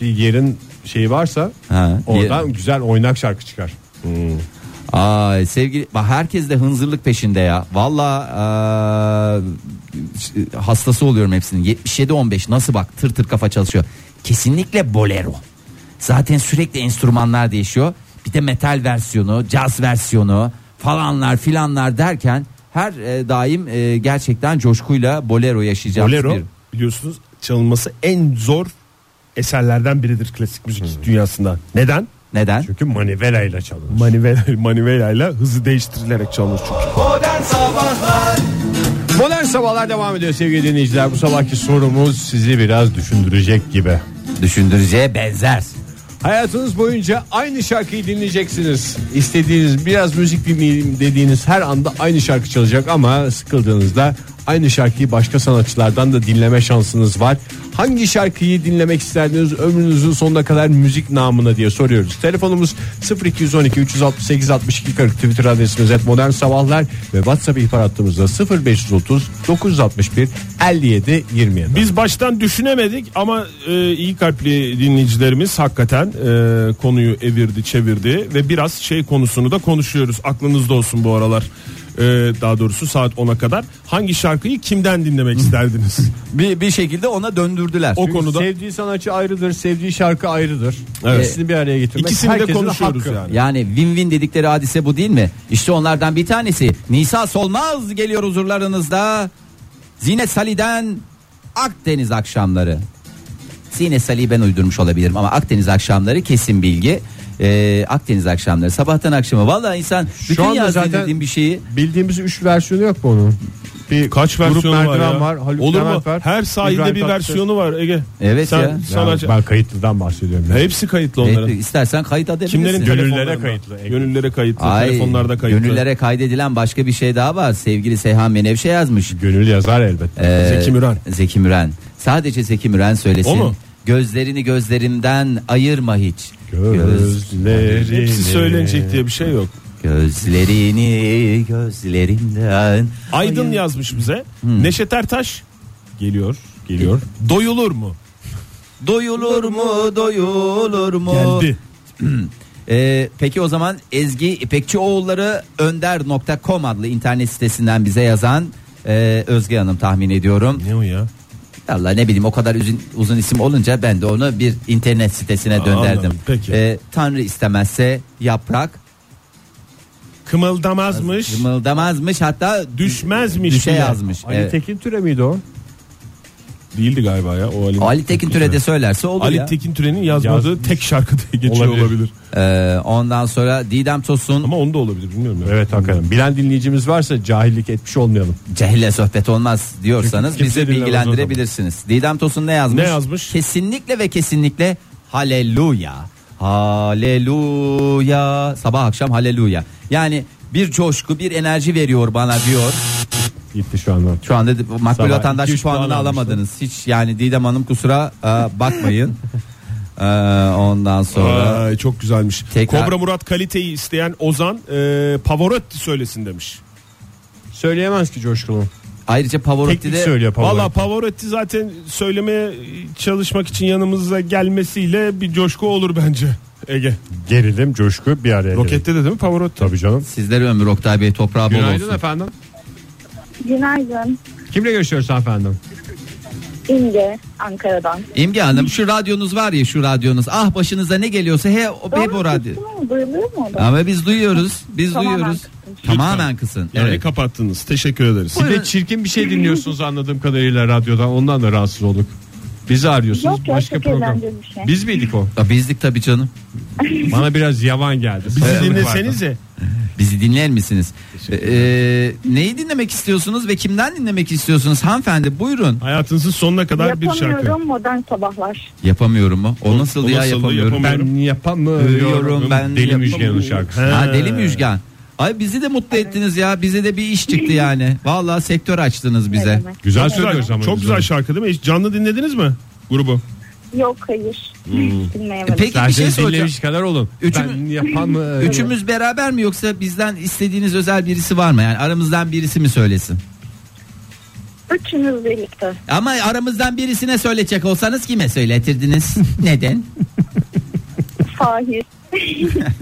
Speaker 2: bir yerin şeyi varsa
Speaker 3: Ha, bir-
Speaker 2: oradan güzel oynak şarkı çıkar.
Speaker 3: Ay sevgili bak herkes de hınzırlık peşinde ya. Valla eee, hastası oluyorum hepsinin. 77 15 nasıl bak tır tır kafa çalışıyor. Kesinlikle bolero. Zaten sürekli enstrümanlar değişiyor. Bir de metal versiyonu, caz versiyonu falanlar filanlar derken her e, daim e, gerçekten coşkuyla bolero yaşayacağız.
Speaker 1: Bolero
Speaker 3: bir-
Speaker 1: biliyorsunuz çalınması en zor eserlerden biridir klasik müzik dünyasında. Neden?
Speaker 3: Neden?
Speaker 1: Çünkü manivela ile çalınır. Manivela, manivela ile hızı değiştirilerek çalınır çünkü.
Speaker 6: Modern Sabahlar
Speaker 2: Modern sabahlar devam ediyor sevgili dinleyiciler. Bu sabahki sorumuz sizi biraz düşündürecek gibi.
Speaker 3: Düşündürücüye benzer.
Speaker 2: Hayatınız boyunca aynı şarkıyı dinleyeceksiniz. İstediğiniz biraz müzik dinleyeyim dediğiniz her anda aynı şarkı çalacak ama sıkıldığınızda aynı şarkıyı başka sanatçılardan da dinleme şansınız var. Hangi şarkıyı dinlemek isterdiniz ömrünüzün sonuna kadar müzik namına diye soruyoruz. Telefonumuz 0212 368 62 40 Twitter adresimiz et modern sabahlar ve WhatsApp ihbar hattımızda 0530 961 57 27.
Speaker 1: Biz baştan düşünemedik ama e, iyi kalpli dinleyicilerimiz hakikaten e, konuyu evirdi çevirdi ve biraz şey konusunu da konuşuyoruz. Aklınızda olsun bu aralar. e, daha doğrusu saat 10'a kadar hangi şarkıyı kimden dinlemek isterdiniz?
Speaker 3: Bir, bir şekilde ona döndürdüler.
Speaker 1: O konuda
Speaker 2: Sevdiği sanatçı ayrıdır, sevdiği şarkı ayrıdır.
Speaker 1: Evet.
Speaker 2: İkisini bir araya getirmek.
Speaker 1: ikisini de
Speaker 2: herkesin
Speaker 1: konuşuyoruz
Speaker 2: hakkı.
Speaker 1: yani.
Speaker 3: Yani win-win dedikleri hadise bu değil mi? İşte onlardan bir tanesi. Nisa Solmaz geliyor huzurlarınızda. Zine Sali'den Akdeniz akşamları. Zine Sali'yi ben uydurmuş olabilirim ama Akdeniz akşamları kesin bilgi. Ee, Akdeniz akşamları sabahtan akşama. Vallahi insan bütün
Speaker 2: anda
Speaker 3: yaz
Speaker 2: zaten-
Speaker 3: dinlediğim bir şeyi
Speaker 2: Bildiğimiz 3 versiyonu yok mu onun? Bir
Speaker 1: Kaç
Speaker 2: grup
Speaker 1: versiyonu var
Speaker 2: merdiven
Speaker 1: ya?
Speaker 2: var Haluk
Speaker 1: Olur mu?
Speaker 2: Levent var,
Speaker 1: Her sahilde
Speaker 2: İbrahim
Speaker 1: bir
Speaker 2: Tatlıses.
Speaker 1: versiyonu var Ege.
Speaker 3: Evet
Speaker 1: Sen,
Speaker 3: ya.
Speaker 1: sanatçı-
Speaker 2: Ben kayıtlıdan bahsediyorum. ya.
Speaker 1: Hepsi kayıtlı onların.
Speaker 3: Evet, eh, istersen kayıt edebilirsin.
Speaker 1: Kimlerin
Speaker 2: Gönüllere
Speaker 1: telefonlarında?
Speaker 2: kayıtlı, Ege.
Speaker 1: Gönüllere kayıtlı,
Speaker 3: Ay,
Speaker 1: telefonlarda kayıtlı.
Speaker 3: Gönüllere kaydedilen başka bir şey daha var. Sevgili Seyhan Menevşe yazmış.
Speaker 2: Gönül yazar elbette.
Speaker 3: Ee,
Speaker 1: Zeki Müren.
Speaker 3: Zeki Müren. Sadece Zeki Müren söylesin.
Speaker 1: O mu?
Speaker 3: Gözlerini gözlerimden ayırma hiç. Göz,
Speaker 2: Gözlerini
Speaker 1: Hepsi söylenecek diye bir şey yok.
Speaker 3: gözlerini gözlerimden.
Speaker 1: Aydın yazmış bize.
Speaker 3: Hmm.
Speaker 1: Neşet Ertaş geliyor, geliyor. Doyulur mu?
Speaker 3: Doyulur mu doyulur mu?
Speaker 1: Geldi.
Speaker 3: Ee, peki o zaman Ezgi İpekçioğulları önder.com adlı internet sitesinden bize yazan e, Özge Hanım tahmin ediyorum.
Speaker 1: Ne o ya?
Speaker 3: Valla ne bileyim o kadar uzun, uzun isim olunca ben de onu bir internet sitesine
Speaker 1: anladım,
Speaker 3: dönderdim.
Speaker 1: peki.
Speaker 3: Ee, Tanrı istemezse yaprak
Speaker 1: Kımıldamazmış,
Speaker 3: Kımıldamazmış hatta
Speaker 1: düşmezmiş
Speaker 3: düşe
Speaker 1: bile.
Speaker 3: şey yazmış.
Speaker 2: Ali
Speaker 3: Evet.
Speaker 2: Tekin Türe miydi o?
Speaker 1: Değildi galiba ya. O Ali,
Speaker 3: Ali Tekin Türede söylerse olur
Speaker 1: Ali
Speaker 3: ya.
Speaker 1: Tekin Türen'in yazmadığı
Speaker 2: Yazmış.
Speaker 1: tek şarkı diye geçiyor olabilir.
Speaker 2: Olabilir.
Speaker 3: Ee, ondan sonra Didem Tosun
Speaker 1: Ama onu da olabilir bilmiyorum. ya.
Speaker 2: Evet hakikaten. Bilen dinleyicimiz varsa cahillik etmiş olmayalım.
Speaker 3: cehille sohbet olmaz diyorsanız
Speaker 1: Çünkü kimse
Speaker 3: bizi
Speaker 1: dinlemez
Speaker 3: bilgilendirebilirsiniz. Didem Tosun ne yazmış?
Speaker 1: Ne yazmış?
Speaker 3: Kesinlikle ve kesinlikle haleluya. Haleluya. Sabah akşam haleluya. Yani bir coşku bir enerji veriyor bana diyor.
Speaker 2: Gitti şu anda.
Speaker 3: Şu anda de- makbul
Speaker 2: Sabah iki,
Speaker 3: vatandaş
Speaker 2: üç puan
Speaker 3: puanını
Speaker 2: almıştı.
Speaker 3: alamadınız. Hiç yani Didem Hanım kusura e, bakmayın. E, ondan sonra
Speaker 1: Ay, çok güzelmiş.
Speaker 3: Tekrar-
Speaker 1: Kobra Murat kaliteyi isteyen Ozan e, Pavarotti söylesin demiş.
Speaker 2: Söyleyemez ki Coşkun'u.
Speaker 3: ayrıca Pavarotti
Speaker 2: Teknik
Speaker 3: de
Speaker 2: söylüyor Pavarotti.
Speaker 1: Valla Pavarotti zaten söylemeye çalışmak için yanımıza gelmesiyle bir coşku olur bence. Ege.
Speaker 2: Gerilim, coşku bir araya. gelelim.
Speaker 1: Rokette de değil mi Pavarotti?
Speaker 2: Tabii canım.
Speaker 3: sizlere ömür Oktay Bey toprağı bol olsun.
Speaker 2: efendim.
Speaker 7: Günaydın.
Speaker 2: Kimle görüşüyoruz efendim?
Speaker 7: İnge, Ankara'dan.
Speaker 3: İmge Hanım şu radyonuz var ya şu radyonuz. Ah başınıza ne geliyorsa he, he bu radyo.
Speaker 7: Doğru, Duyuluyor mu? o da?
Speaker 3: Ama biz duyuyoruz. Biz
Speaker 7: Tamamen
Speaker 3: duyuyoruz.
Speaker 7: kısmış.
Speaker 3: Tamamen kısın.
Speaker 1: Yani
Speaker 3: evet.
Speaker 1: kapattınız. Teşekkür ederiz.
Speaker 2: Bir de çirkin bir şey dinliyorsunuz anladığım kadarıyla radyodan. Ondan da rahatsız olduk. Bizi arıyorsunuz.
Speaker 7: Yok ya,
Speaker 2: Başka
Speaker 7: çok
Speaker 2: program.
Speaker 7: eğlenceli bir şey.
Speaker 2: Biz miydik o?
Speaker 3: Ya Bizdik tabii canım.
Speaker 2: Bana biraz yavan geldi.
Speaker 1: Bizi
Speaker 2: Sapıklık
Speaker 1: dinlesenize.
Speaker 3: Bizi dinler misiniz? Ee, neyi dinlemek istiyorsunuz ve kimden dinlemek istiyorsunuz hanımefendi? Buyurun.
Speaker 1: Hayatınızın sonuna kadar bir şarkı.
Speaker 7: Yapamıyorum modern sabahlar.
Speaker 3: Yapamıyorum mu? O nasıl
Speaker 1: o
Speaker 3: ya
Speaker 1: nasıl
Speaker 3: yapamıyorum.
Speaker 1: yapamıyorum.
Speaker 2: vardı. Ben yapamıyorum.
Speaker 3: Ölüyorum, ben
Speaker 2: Deli
Speaker 3: yapamıyorum.
Speaker 2: Müjgan'ın şarkısı.
Speaker 1: He.
Speaker 3: Ha deli müjgan. Ay bizi de mutlu ettiniz ya. Bize de bir iş çıktı yani. Vallahi sektör açtınız bize.
Speaker 7: demek?
Speaker 2: Güzel
Speaker 1: Çok
Speaker 2: söylüyoruz
Speaker 1: güzel,
Speaker 2: ama.
Speaker 1: çok güzel şarkı değil mi? Hiç canlı dinlediniz mi grubu?
Speaker 7: Yok hayır.
Speaker 1: Hmm.
Speaker 7: Dinleyemedim.
Speaker 3: E, peki bir şey
Speaker 2: Derseniz
Speaker 3: soracağım.
Speaker 2: dinlemiş kadar olun.
Speaker 3: Üçümü-
Speaker 2: ben yapamıyorum.
Speaker 3: Üçümüz beraber mi yoksa bizden istediğiniz özel birisi var mı? Yani aramızdan birisi mi söylesin?
Speaker 7: Üçünüz birlikte.
Speaker 3: Ama aramızdan birisine söyleyecek olsanız kime söyletirdiniz? Neden?
Speaker 7: Fahir.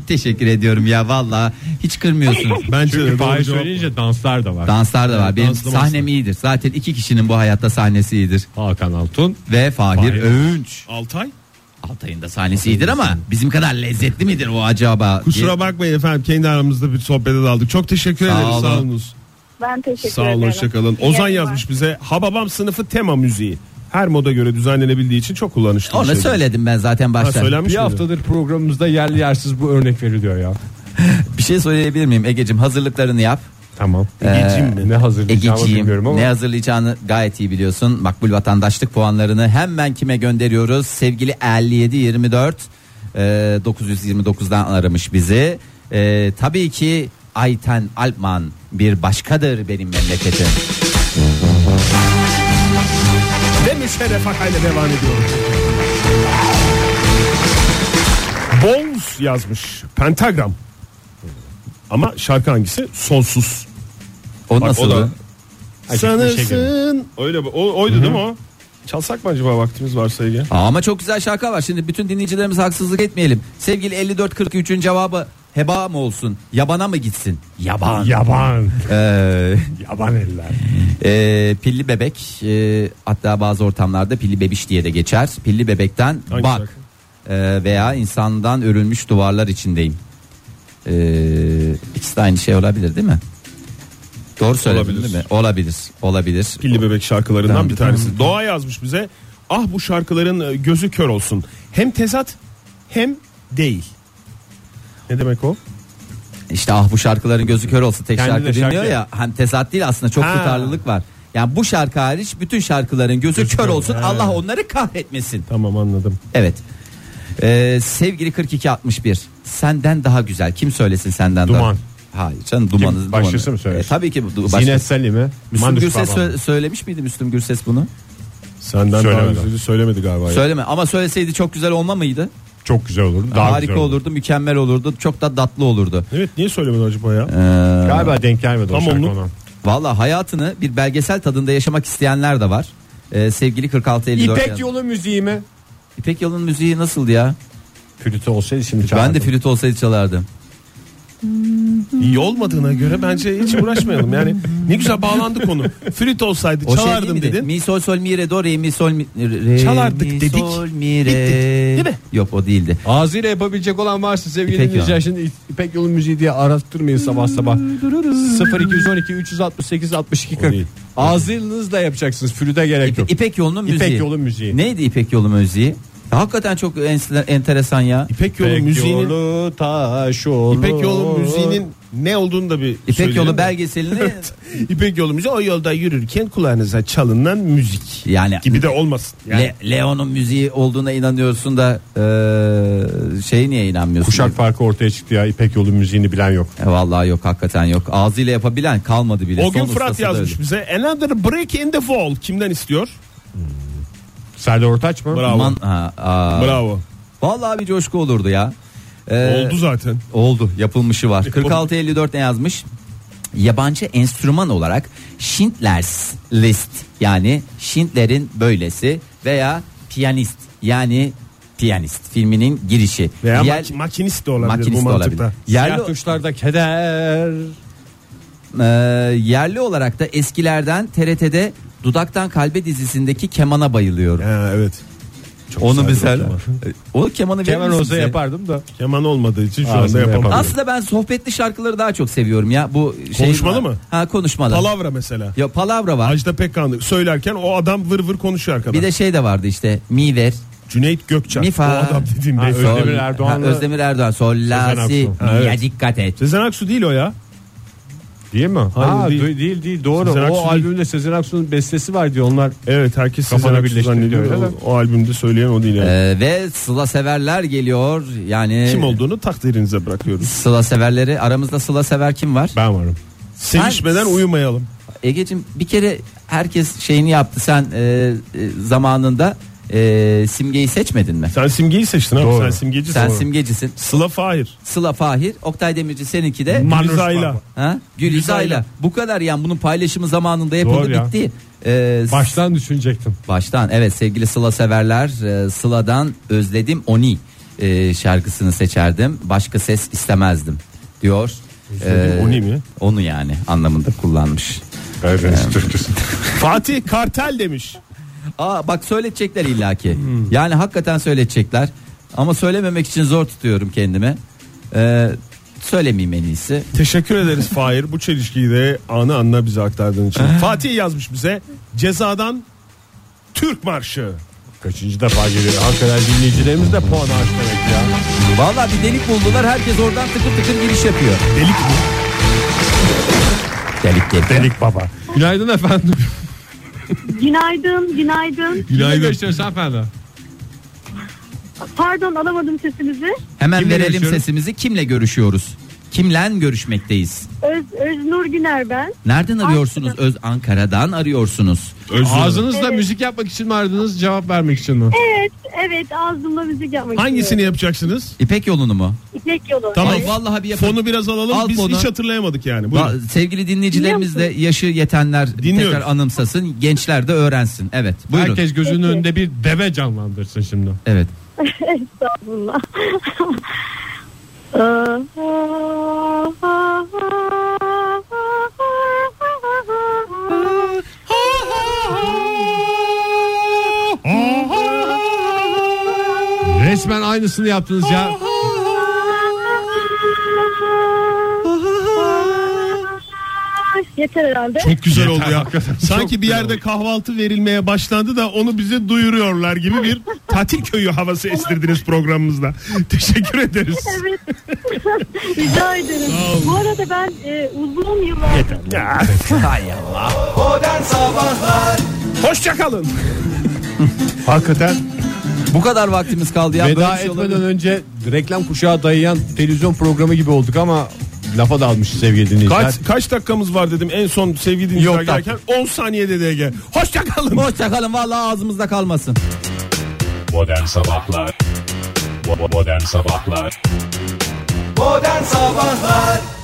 Speaker 3: Teşekkür ediyorum ya valla hiç kırmıyorsunuz.
Speaker 1: Bence
Speaker 2: Çünkü
Speaker 1: de doğru
Speaker 2: Fahir
Speaker 1: cevap.
Speaker 2: söyleyince danslar da var.
Speaker 3: Danslar da var. Benim
Speaker 1: danslı
Speaker 3: sahnem
Speaker 1: manslı.
Speaker 3: iyidir. Zaten iki kişinin bu hayatta sahnesi iyidir.
Speaker 2: Hakan Altun.
Speaker 3: Ve Fahir,
Speaker 2: Fahir.
Speaker 3: Öğünç.
Speaker 1: Altay?
Speaker 3: Altay'ın da sahnesi iyidir ama bizim kadar lezzetli midir o acaba?
Speaker 1: Kusura bakmayın efendim kendi aramızda bir sohbete daldık. Çok teşekkür
Speaker 3: Sağ
Speaker 1: ederiz.
Speaker 3: olun.
Speaker 1: Sağ olunuz.
Speaker 7: Ben teşekkür
Speaker 1: Sağ
Speaker 7: ederim.
Speaker 1: olun hoşçakalın.
Speaker 7: İyi
Speaker 1: Ozan
Speaker 7: yayınlar.
Speaker 1: yazmış bize Hababam sınıfı tema müziği. Her moda göre düzenlenebildiği için çok kullanışlı. bir
Speaker 3: Onu
Speaker 1: şey.
Speaker 3: söyledim ben zaten
Speaker 1: Ha,
Speaker 3: başta.
Speaker 1: söylenmiş
Speaker 2: Bir
Speaker 1: miydi?
Speaker 2: haftadır programımızda yerli yersiz bu örnek veriliyor ya.
Speaker 3: Bir şey söyleyebilir miyim Ege'cim hazırlıklarını yap.
Speaker 2: Tamam.
Speaker 1: Egeciğim
Speaker 2: ne hazırlayacağımı bilmiyorum
Speaker 3: Egeciğim
Speaker 2: ama.
Speaker 3: ne hazırlayacağını gayet iyi biliyorsun. Makbul vatandaşlık puanlarını hemen kime gönderiyoruz? Sevgili 5724 e, 929'dan aramış bizi. E, tabii ki Ayten Alpman bir başkadır benim memleketim.
Speaker 1: Ve müşerref ile devam ediyoruz. Bones yazmış. Pentagram. Ama şarkı hangisi? Sonsuz.
Speaker 3: O
Speaker 1: Bak, o
Speaker 3: nasıl?
Speaker 1: da- şey
Speaker 2: Acıklı şekerim.
Speaker 1: Sanırsın. Öyle mi? O, oydu değil mi o? Çalsak mı acaba vaktimiz varsa Ege?
Speaker 3: Ama çok güzel şarkı var. Şimdi bütün dinleyicilerimize haksızlık etmeyelim. Sevgili 5443'ün cevabı heba mı olsun? Yabana mı gitsin? Yaban.
Speaker 1: Yaban.
Speaker 3: Ee,
Speaker 1: Yaban eller.
Speaker 3: e, pilli bebek e, hatta bazı ortamlarda pilli bebiş diye de geçer. Pilli bebekten
Speaker 1: Hangi
Speaker 3: bak
Speaker 1: şarkı?
Speaker 3: e, veya insandan örülmüş duvarlar içindeyim. E, ikisi de aynı şey olabilir değil mi? Doğru söyledim
Speaker 1: Olabilir.
Speaker 3: değil mi? Olabilir. Olabilir.
Speaker 1: Pilli Bebek şarkılarından
Speaker 3: Tamam,
Speaker 1: bir tanesi. Doğa yazmış bize. Ah bu şarkıların e, gözü kör olsun. Hem tezat hem değil. Ne demek o?
Speaker 3: İşte ah bu şarkıların gözü kör olsa tek
Speaker 1: Kendine
Speaker 3: şarkı dinliyor
Speaker 1: şarkı.
Speaker 3: ya. Hem tezat değil aslında çok
Speaker 1: Ha.
Speaker 3: tutarlılık var. Yani bu şarkı hariç bütün şarkıların gözü kör olsun. Allah onları kahretmesin.
Speaker 1: Tamam anladım.
Speaker 3: Evet. Ee, sevgili 4261 senden daha güzel kim söylesin senden daha?
Speaker 1: Duman.
Speaker 3: Hayır canım dumanı. dumanı.
Speaker 1: Başkası mı söylesin?
Speaker 3: E, tabii ki bu du- başkası.
Speaker 2: Zinet Salim'e
Speaker 3: Müslüm
Speaker 1: Mandus
Speaker 3: Gürses
Speaker 1: Babam.
Speaker 3: sö- söylemiş miydi Müslüm Gürses bunu?
Speaker 1: Senden
Speaker 2: Söylemedi.
Speaker 1: daha güzeli söylemedi galiba. ya.
Speaker 3: Söyleme ama söyleseydi çok güzel olma mıydı?
Speaker 2: çok güzel olurdu. Daha
Speaker 3: Harika
Speaker 2: güzel
Speaker 3: olurdu, mükemmel olurdu, çok da tatlı olurdu.
Speaker 1: Evet niye söylemedi acaba ya?
Speaker 2: Galiba denk gelmedi o
Speaker 1: Tam
Speaker 2: şarkı
Speaker 1: onluk.
Speaker 2: ona.
Speaker 3: Valla hayatını bir belgesel tadında yaşamak isteyenler de var. Ee, sevgili 4654.
Speaker 2: İpek
Speaker 3: yaz-
Speaker 2: yolu müziği mi?
Speaker 3: İpek Yol'un müziği nasıldı ya?
Speaker 2: Flütü olsaydı şimdi
Speaker 3: Ben de
Speaker 2: çağırdım.
Speaker 3: flüt olsaydı çalardım.
Speaker 1: İyi olmadığına göre bence hiç uğraşmayalım. Yani ne güzel bağlandı konu. Flüt olsaydı
Speaker 3: O şey
Speaker 1: çalardım
Speaker 3: değil miydi?
Speaker 1: dedin.
Speaker 3: Mi sol sol mi re do re mi sol mi re
Speaker 1: Çalardık
Speaker 3: mi,
Speaker 1: dedik.
Speaker 3: Sol mi re.
Speaker 1: Bitti. Değil mi?
Speaker 3: Yok o değildi.
Speaker 2: Ağzıyla yapabilecek olan varsa sevgili
Speaker 3: İpek
Speaker 2: dinleyiciler
Speaker 3: yolu.
Speaker 2: şimdi İpek yolu müziği diye arattırmayın sabah sabah. 0212 368 62 40.
Speaker 1: değil.
Speaker 2: Ağzınızla yapacaksınız. Flüte gerek yok.
Speaker 3: İpe- İpek Yol'un müziği.
Speaker 2: İpek yolu müziği.
Speaker 3: Neydi İpek Yolu müziği? Ya Hakikaten çok en- enteresan ya.
Speaker 1: İpek yolu
Speaker 2: İpek
Speaker 1: müziğinin
Speaker 2: yolu taş olur.
Speaker 1: İpek yolu müziğinin ne olduğunu da bir
Speaker 3: İpek
Speaker 1: söyleyelim
Speaker 3: Yolu
Speaker 1: mi?
Speaker 3: belgeselini
Speaker 1: İpek yolu müziği o yolda yürürken kulağınıza çalınan müzik.
Speaker 3: yani
Speaker 1: Gibi de olmasın. Yani
Speaker 3: Le- Leon'un müziği olduğuna inanıyorsun da eee şey niye inanmıyorsun?
Speaker 2: Kuşak farkı ortaya çıktı ya. İpek yolu müziğini bilen yok.
Speaker 3: E, vallahi yok hakikaten yok. Ağzıyla yapabilen kalmadı bile.
Speaker 1: o gün
Speaker 3: Son
Speaker 1: Fırat
Speaker 3: ustası da
Speaker 1: yazmış
Speaker 3: öyle.
Speaker 1: bize. Another break in the wall. Kimden istiyor?
Speaker 2: Serdar Ortaç mı?
Speaker 1: Bravo.
Speaker 3: Man- ha, aa.
Speaker 1: Bravo.
Speaker 3: Vallahi bir coşku olurdu ya. Ee,
Speaker 1: Oldu zaten.
Speaker 3: Oldu yapılmışı var. 4654 ne yazmış? Yabancı enstrüman olarak Schindler's List yani Schindler'in böylesi veya piyanist yani piyanist filminin girişi.
Speaker 1: Veya
Speaker 3: Yer-
Speaker 1: mak- makinist de olabilir
Speaker 3: makinist
Speaker 1: bu mantıkta.
Speaker 3: olabilir.
Speaker 2: Siyah
Speaker 3: Yerli,
Speaker 2: tuşlarda keder.
Speaker 3: e, yerli olarak da eskilerden TRT'de Dudaktan Kalbe dizisindeki kemana bayılıyorum.
Speaker 1: Ha, evet. Çok
Speaker 3: Onu mesela
Speaker 1: güzel bir okuma.
Speaker 3: o kemanı verir
Speaker 2: Kemal
Speaker 3: misin
Speaker 2: olsa
Speaker 3: bize?
Speaker 2: yapardım da.
Speaker 1: Keman olmadığı için şu anda
Speaker 2: Ağzını
Speaker 1: yapamam.
Speaker 2: yapamam.
Speaker 3: Aslında ben sohbetli şarkıları daha çok seviyorum ya. Bu şey
Speaker 1: Konuşmalı mı?
Speaker 3: Ha konuşmalı.
Speaker 1: Palavra mesela.
Speaker 3: ya palavra var.
Speaker 1: Ajda Pekkan söylerken o adam vır vır konuşuyor arkadan.
Speaker 3: Bir de şey de vardı işte mi ver
Speaker 1: Cüneyt Gökçen.
Speaker 3: mi
Speaker 1: O
Speaker 3: fa.
Speaker 1: adam dediğim
Speaker 2: Ha,
Speaker 1: de.
Speaker 2: Özdemir
Speaker 3: Sol-
Speaker 2: Erdoğan'la-
Speaker 3: Ha, Özdemir Erdoğan. Sol la
Speaker 2: Sezen
Speaker 3: si
Speaker 2: Aksu.
Speaker 1: Ha,
Speaker 3: mi'ye
Speaker 1: evet.
Speaker 3: dikkat et.
Speaker 1: Sezen Aksu değil o ya.
Speaker 2: Değil mi?
Speaker 1: Hayır,
Speaker 2: ha,
Speaker 1: değil.
Speaker 2: değil. değil değil, doğru.
Speaker 1: Sezen Aksu
Speaker 2: o
Speaker 1: değil.
Speaker 2: albümde Sezen Aksu'nun bestesi var diyor. Onlar
Speaker 1: Evet herkes Sezen
Speaker 2: Kafanı
Speaker 1: Aksu
Speaker 2: birleştiriyor
Speaker 1: zannediyor.
Speaker 2: öyle
Speaker 1: O,
Speaker 2: mi?
Speaker 1: o albümde söyleyen o değil yani.
Speaker 3: Ee, ve sıla severler geliyor. Yani
Speaker 1: Kim olduğunu takdirinize bırakıyoruz.
Speaker 3: Sıla severleri aramızda sıla sever kim var?
Speaker 2: ben varım.
Speaker 1: Sevişmeden uyumayalım.
Speaker 3: Egeciğim bir kere herkes şeyini yaptı. Sen e, e, zamanında e, simgeyi seçmedin mi?
Speaker 1: Sen simgeyi seçtin abi.
Speaker 2: Doğru.
Speaker 1: Sen simgecisin.
Speaker 3: Sen
Speaker 1: Doğru.
Speaker 3: simgecisin.
Speaker 1: Sıla Fahir.
Speaker 3: Sıla Fahir, Oktay Demirci seninki de
Speaker 1: Manuzayla.
Speaker 3: ha?
Speaker 1: Gülizayla.
Speaker 3: Gülizayla. Bu kadar yani bunun paylaşımı zamanında yapıldı
Speaker 2: Doğru ya.
Speaker 3: bitti. Ee,
Speaker 2: Baştan düşünecektim.
Speaker 3: Baştan evet sevgili Sıla severler e, Sıla'dan özledim Oni e, şarkısını seçerdim. Başka ses istemezdim diyor. E,
Speaker 1: Özledim Oni mi?
Speaker 3: Onu yani anlamında kullanmış.
Speaker 2: Karadeniz türküsü.
Speaker 1: Fatih Kartel demiş.
Speaker 3: Aa bak söyletecekler illaki.
Speaker 1: Hmm.
Speaker 3: Yani hakikaten söyletecekler. Ama söylememek için zor tutuyorum kendimi. Ee, söylemeyeyim en iyisi.
Speaker 1: Teşekkür ederiz Fahir. Bu çelişkiyi de anı anına bize aktardığın için. Fatih yazmış bize. Cezadan Türk Marşı.
Speaker 2: Kaçıncı defa geliyor. Hakikaten dinleyicilerimiz de puan ağaç demek ya.
Speaker 3: Valla bir delik buldular. Herkes oradan tıkır tıkır giriş yapıyor.
Speaker 1: Delik mi?
Speaker 3: Delik geliyor.
Speaker 1: Delik baba.
Speaker 2: Günaydın efendim.
Speaker 7: Günaydın, günaydın.
Speaker 2: Günaydın. Görüşürüz efendim.
Speaker 7: Pardon alamadım sesinizi.
Speaker 3: Hemen
Speaker 2: Kimle
Speaker 3: verelim
Speaker 2: görüşüyoruz?
Speaker 3: sesimizi. Kimle görüşüyoruz? Kimlen görüşmekteyiz?
Speaker 7: Öz, Öznur Güner ben.
Speaker 3: Nereden arıyorsunuz? Öz Ankara'dan arıyorsunuz.
Speaker 2: Ağzınızla müzik yapmak için mi aradınız cevap vermek için mi?
Speaker 7: Evet, evet ağzımla müzik yapmak
Speaker 1: Hangisini
Speaker 7: istiyorum.
Speaker 1: yapacaksınız?
Speaker 3: İpek yolunu mu?
Speaker 7: İpek yolu.
Speaker 1: Tamam.
Speaker 3: Ay, vallahi bir yapın.
Speaker 1: Fonu biraz alalım.
Speaker 3: Al
Speaker 1: Biz
Speaker 3: fonu.
Speaker 1: hiç hatırlayamadık yani. Buyurun.
Speaker 3: Va- Sevgili dinleyicilerimiz de
Speaker 7: Dinliyor
Speaker 3: yaşı yetenler
Speaker 1: Dinliyoruz.
Speaker 3: tekrar anımsasın. Gençler de öğrensin. Evet. Buyurun.
Speaker 2: Herkes gözünün
Speaker 7: Peki.
Speaker 2: önünde bir deve canlandırsın şimdi.
Speaker 3: Evet.
Speaker 7: Estağfurullah. Ee,
Speaker 2: aynısını yaptınız ya.
Speaker 7: Yeter herhalde.
Speaker 8: Çok güzel
Speaker 2: Yeter,
Speaker 8: oldu ya.
Speaker 2: hakikaten.
Speaker 8: Sanki bir yerde kahvaltı verilmeye başlandı da onu bize duyuruyorlar gibi bir tatil köyü havası estirdiniz programımızda. Teşekkür ederiz.
Speaker 7: Evet. Rica ederim. Bu arada ben e, uzun yıllardır
Speaker 8: Ya,
Speaker 3: Hay Allah.
Speaker 9: Modern Sabahlar
Speaker 8: Hoşça kalın. Hakikaten
Speaker 3: Bu kadar vaktimiz kaldı ya. Böyle
Speaker 2: Veda
Speaker 3: bir şey
Speaker 2: etmeden
Speaker 3: olabilir mi?
Speaker 2: önce reklam kuşağı dayayan televizyon programı gibi olduk ama lafa dalmışız sevgili dinleyiciler.
Speaker 8: kaç kaç dakikamız var dedim en son sevgili
Speaker 3: Yok
Speaker 8: dinleyiciler
Speaker 3: da.
Speaker 8: gelirken 10 saniye dedi Ege. Hoşça kalın.
Speaker 3: Hoşça kalın vallahi ağzımızda kalmasın.
Speaker 10: Modern Sabahlar Bo- Modern Sabahlar
Speaker 9: Modern Sabahlar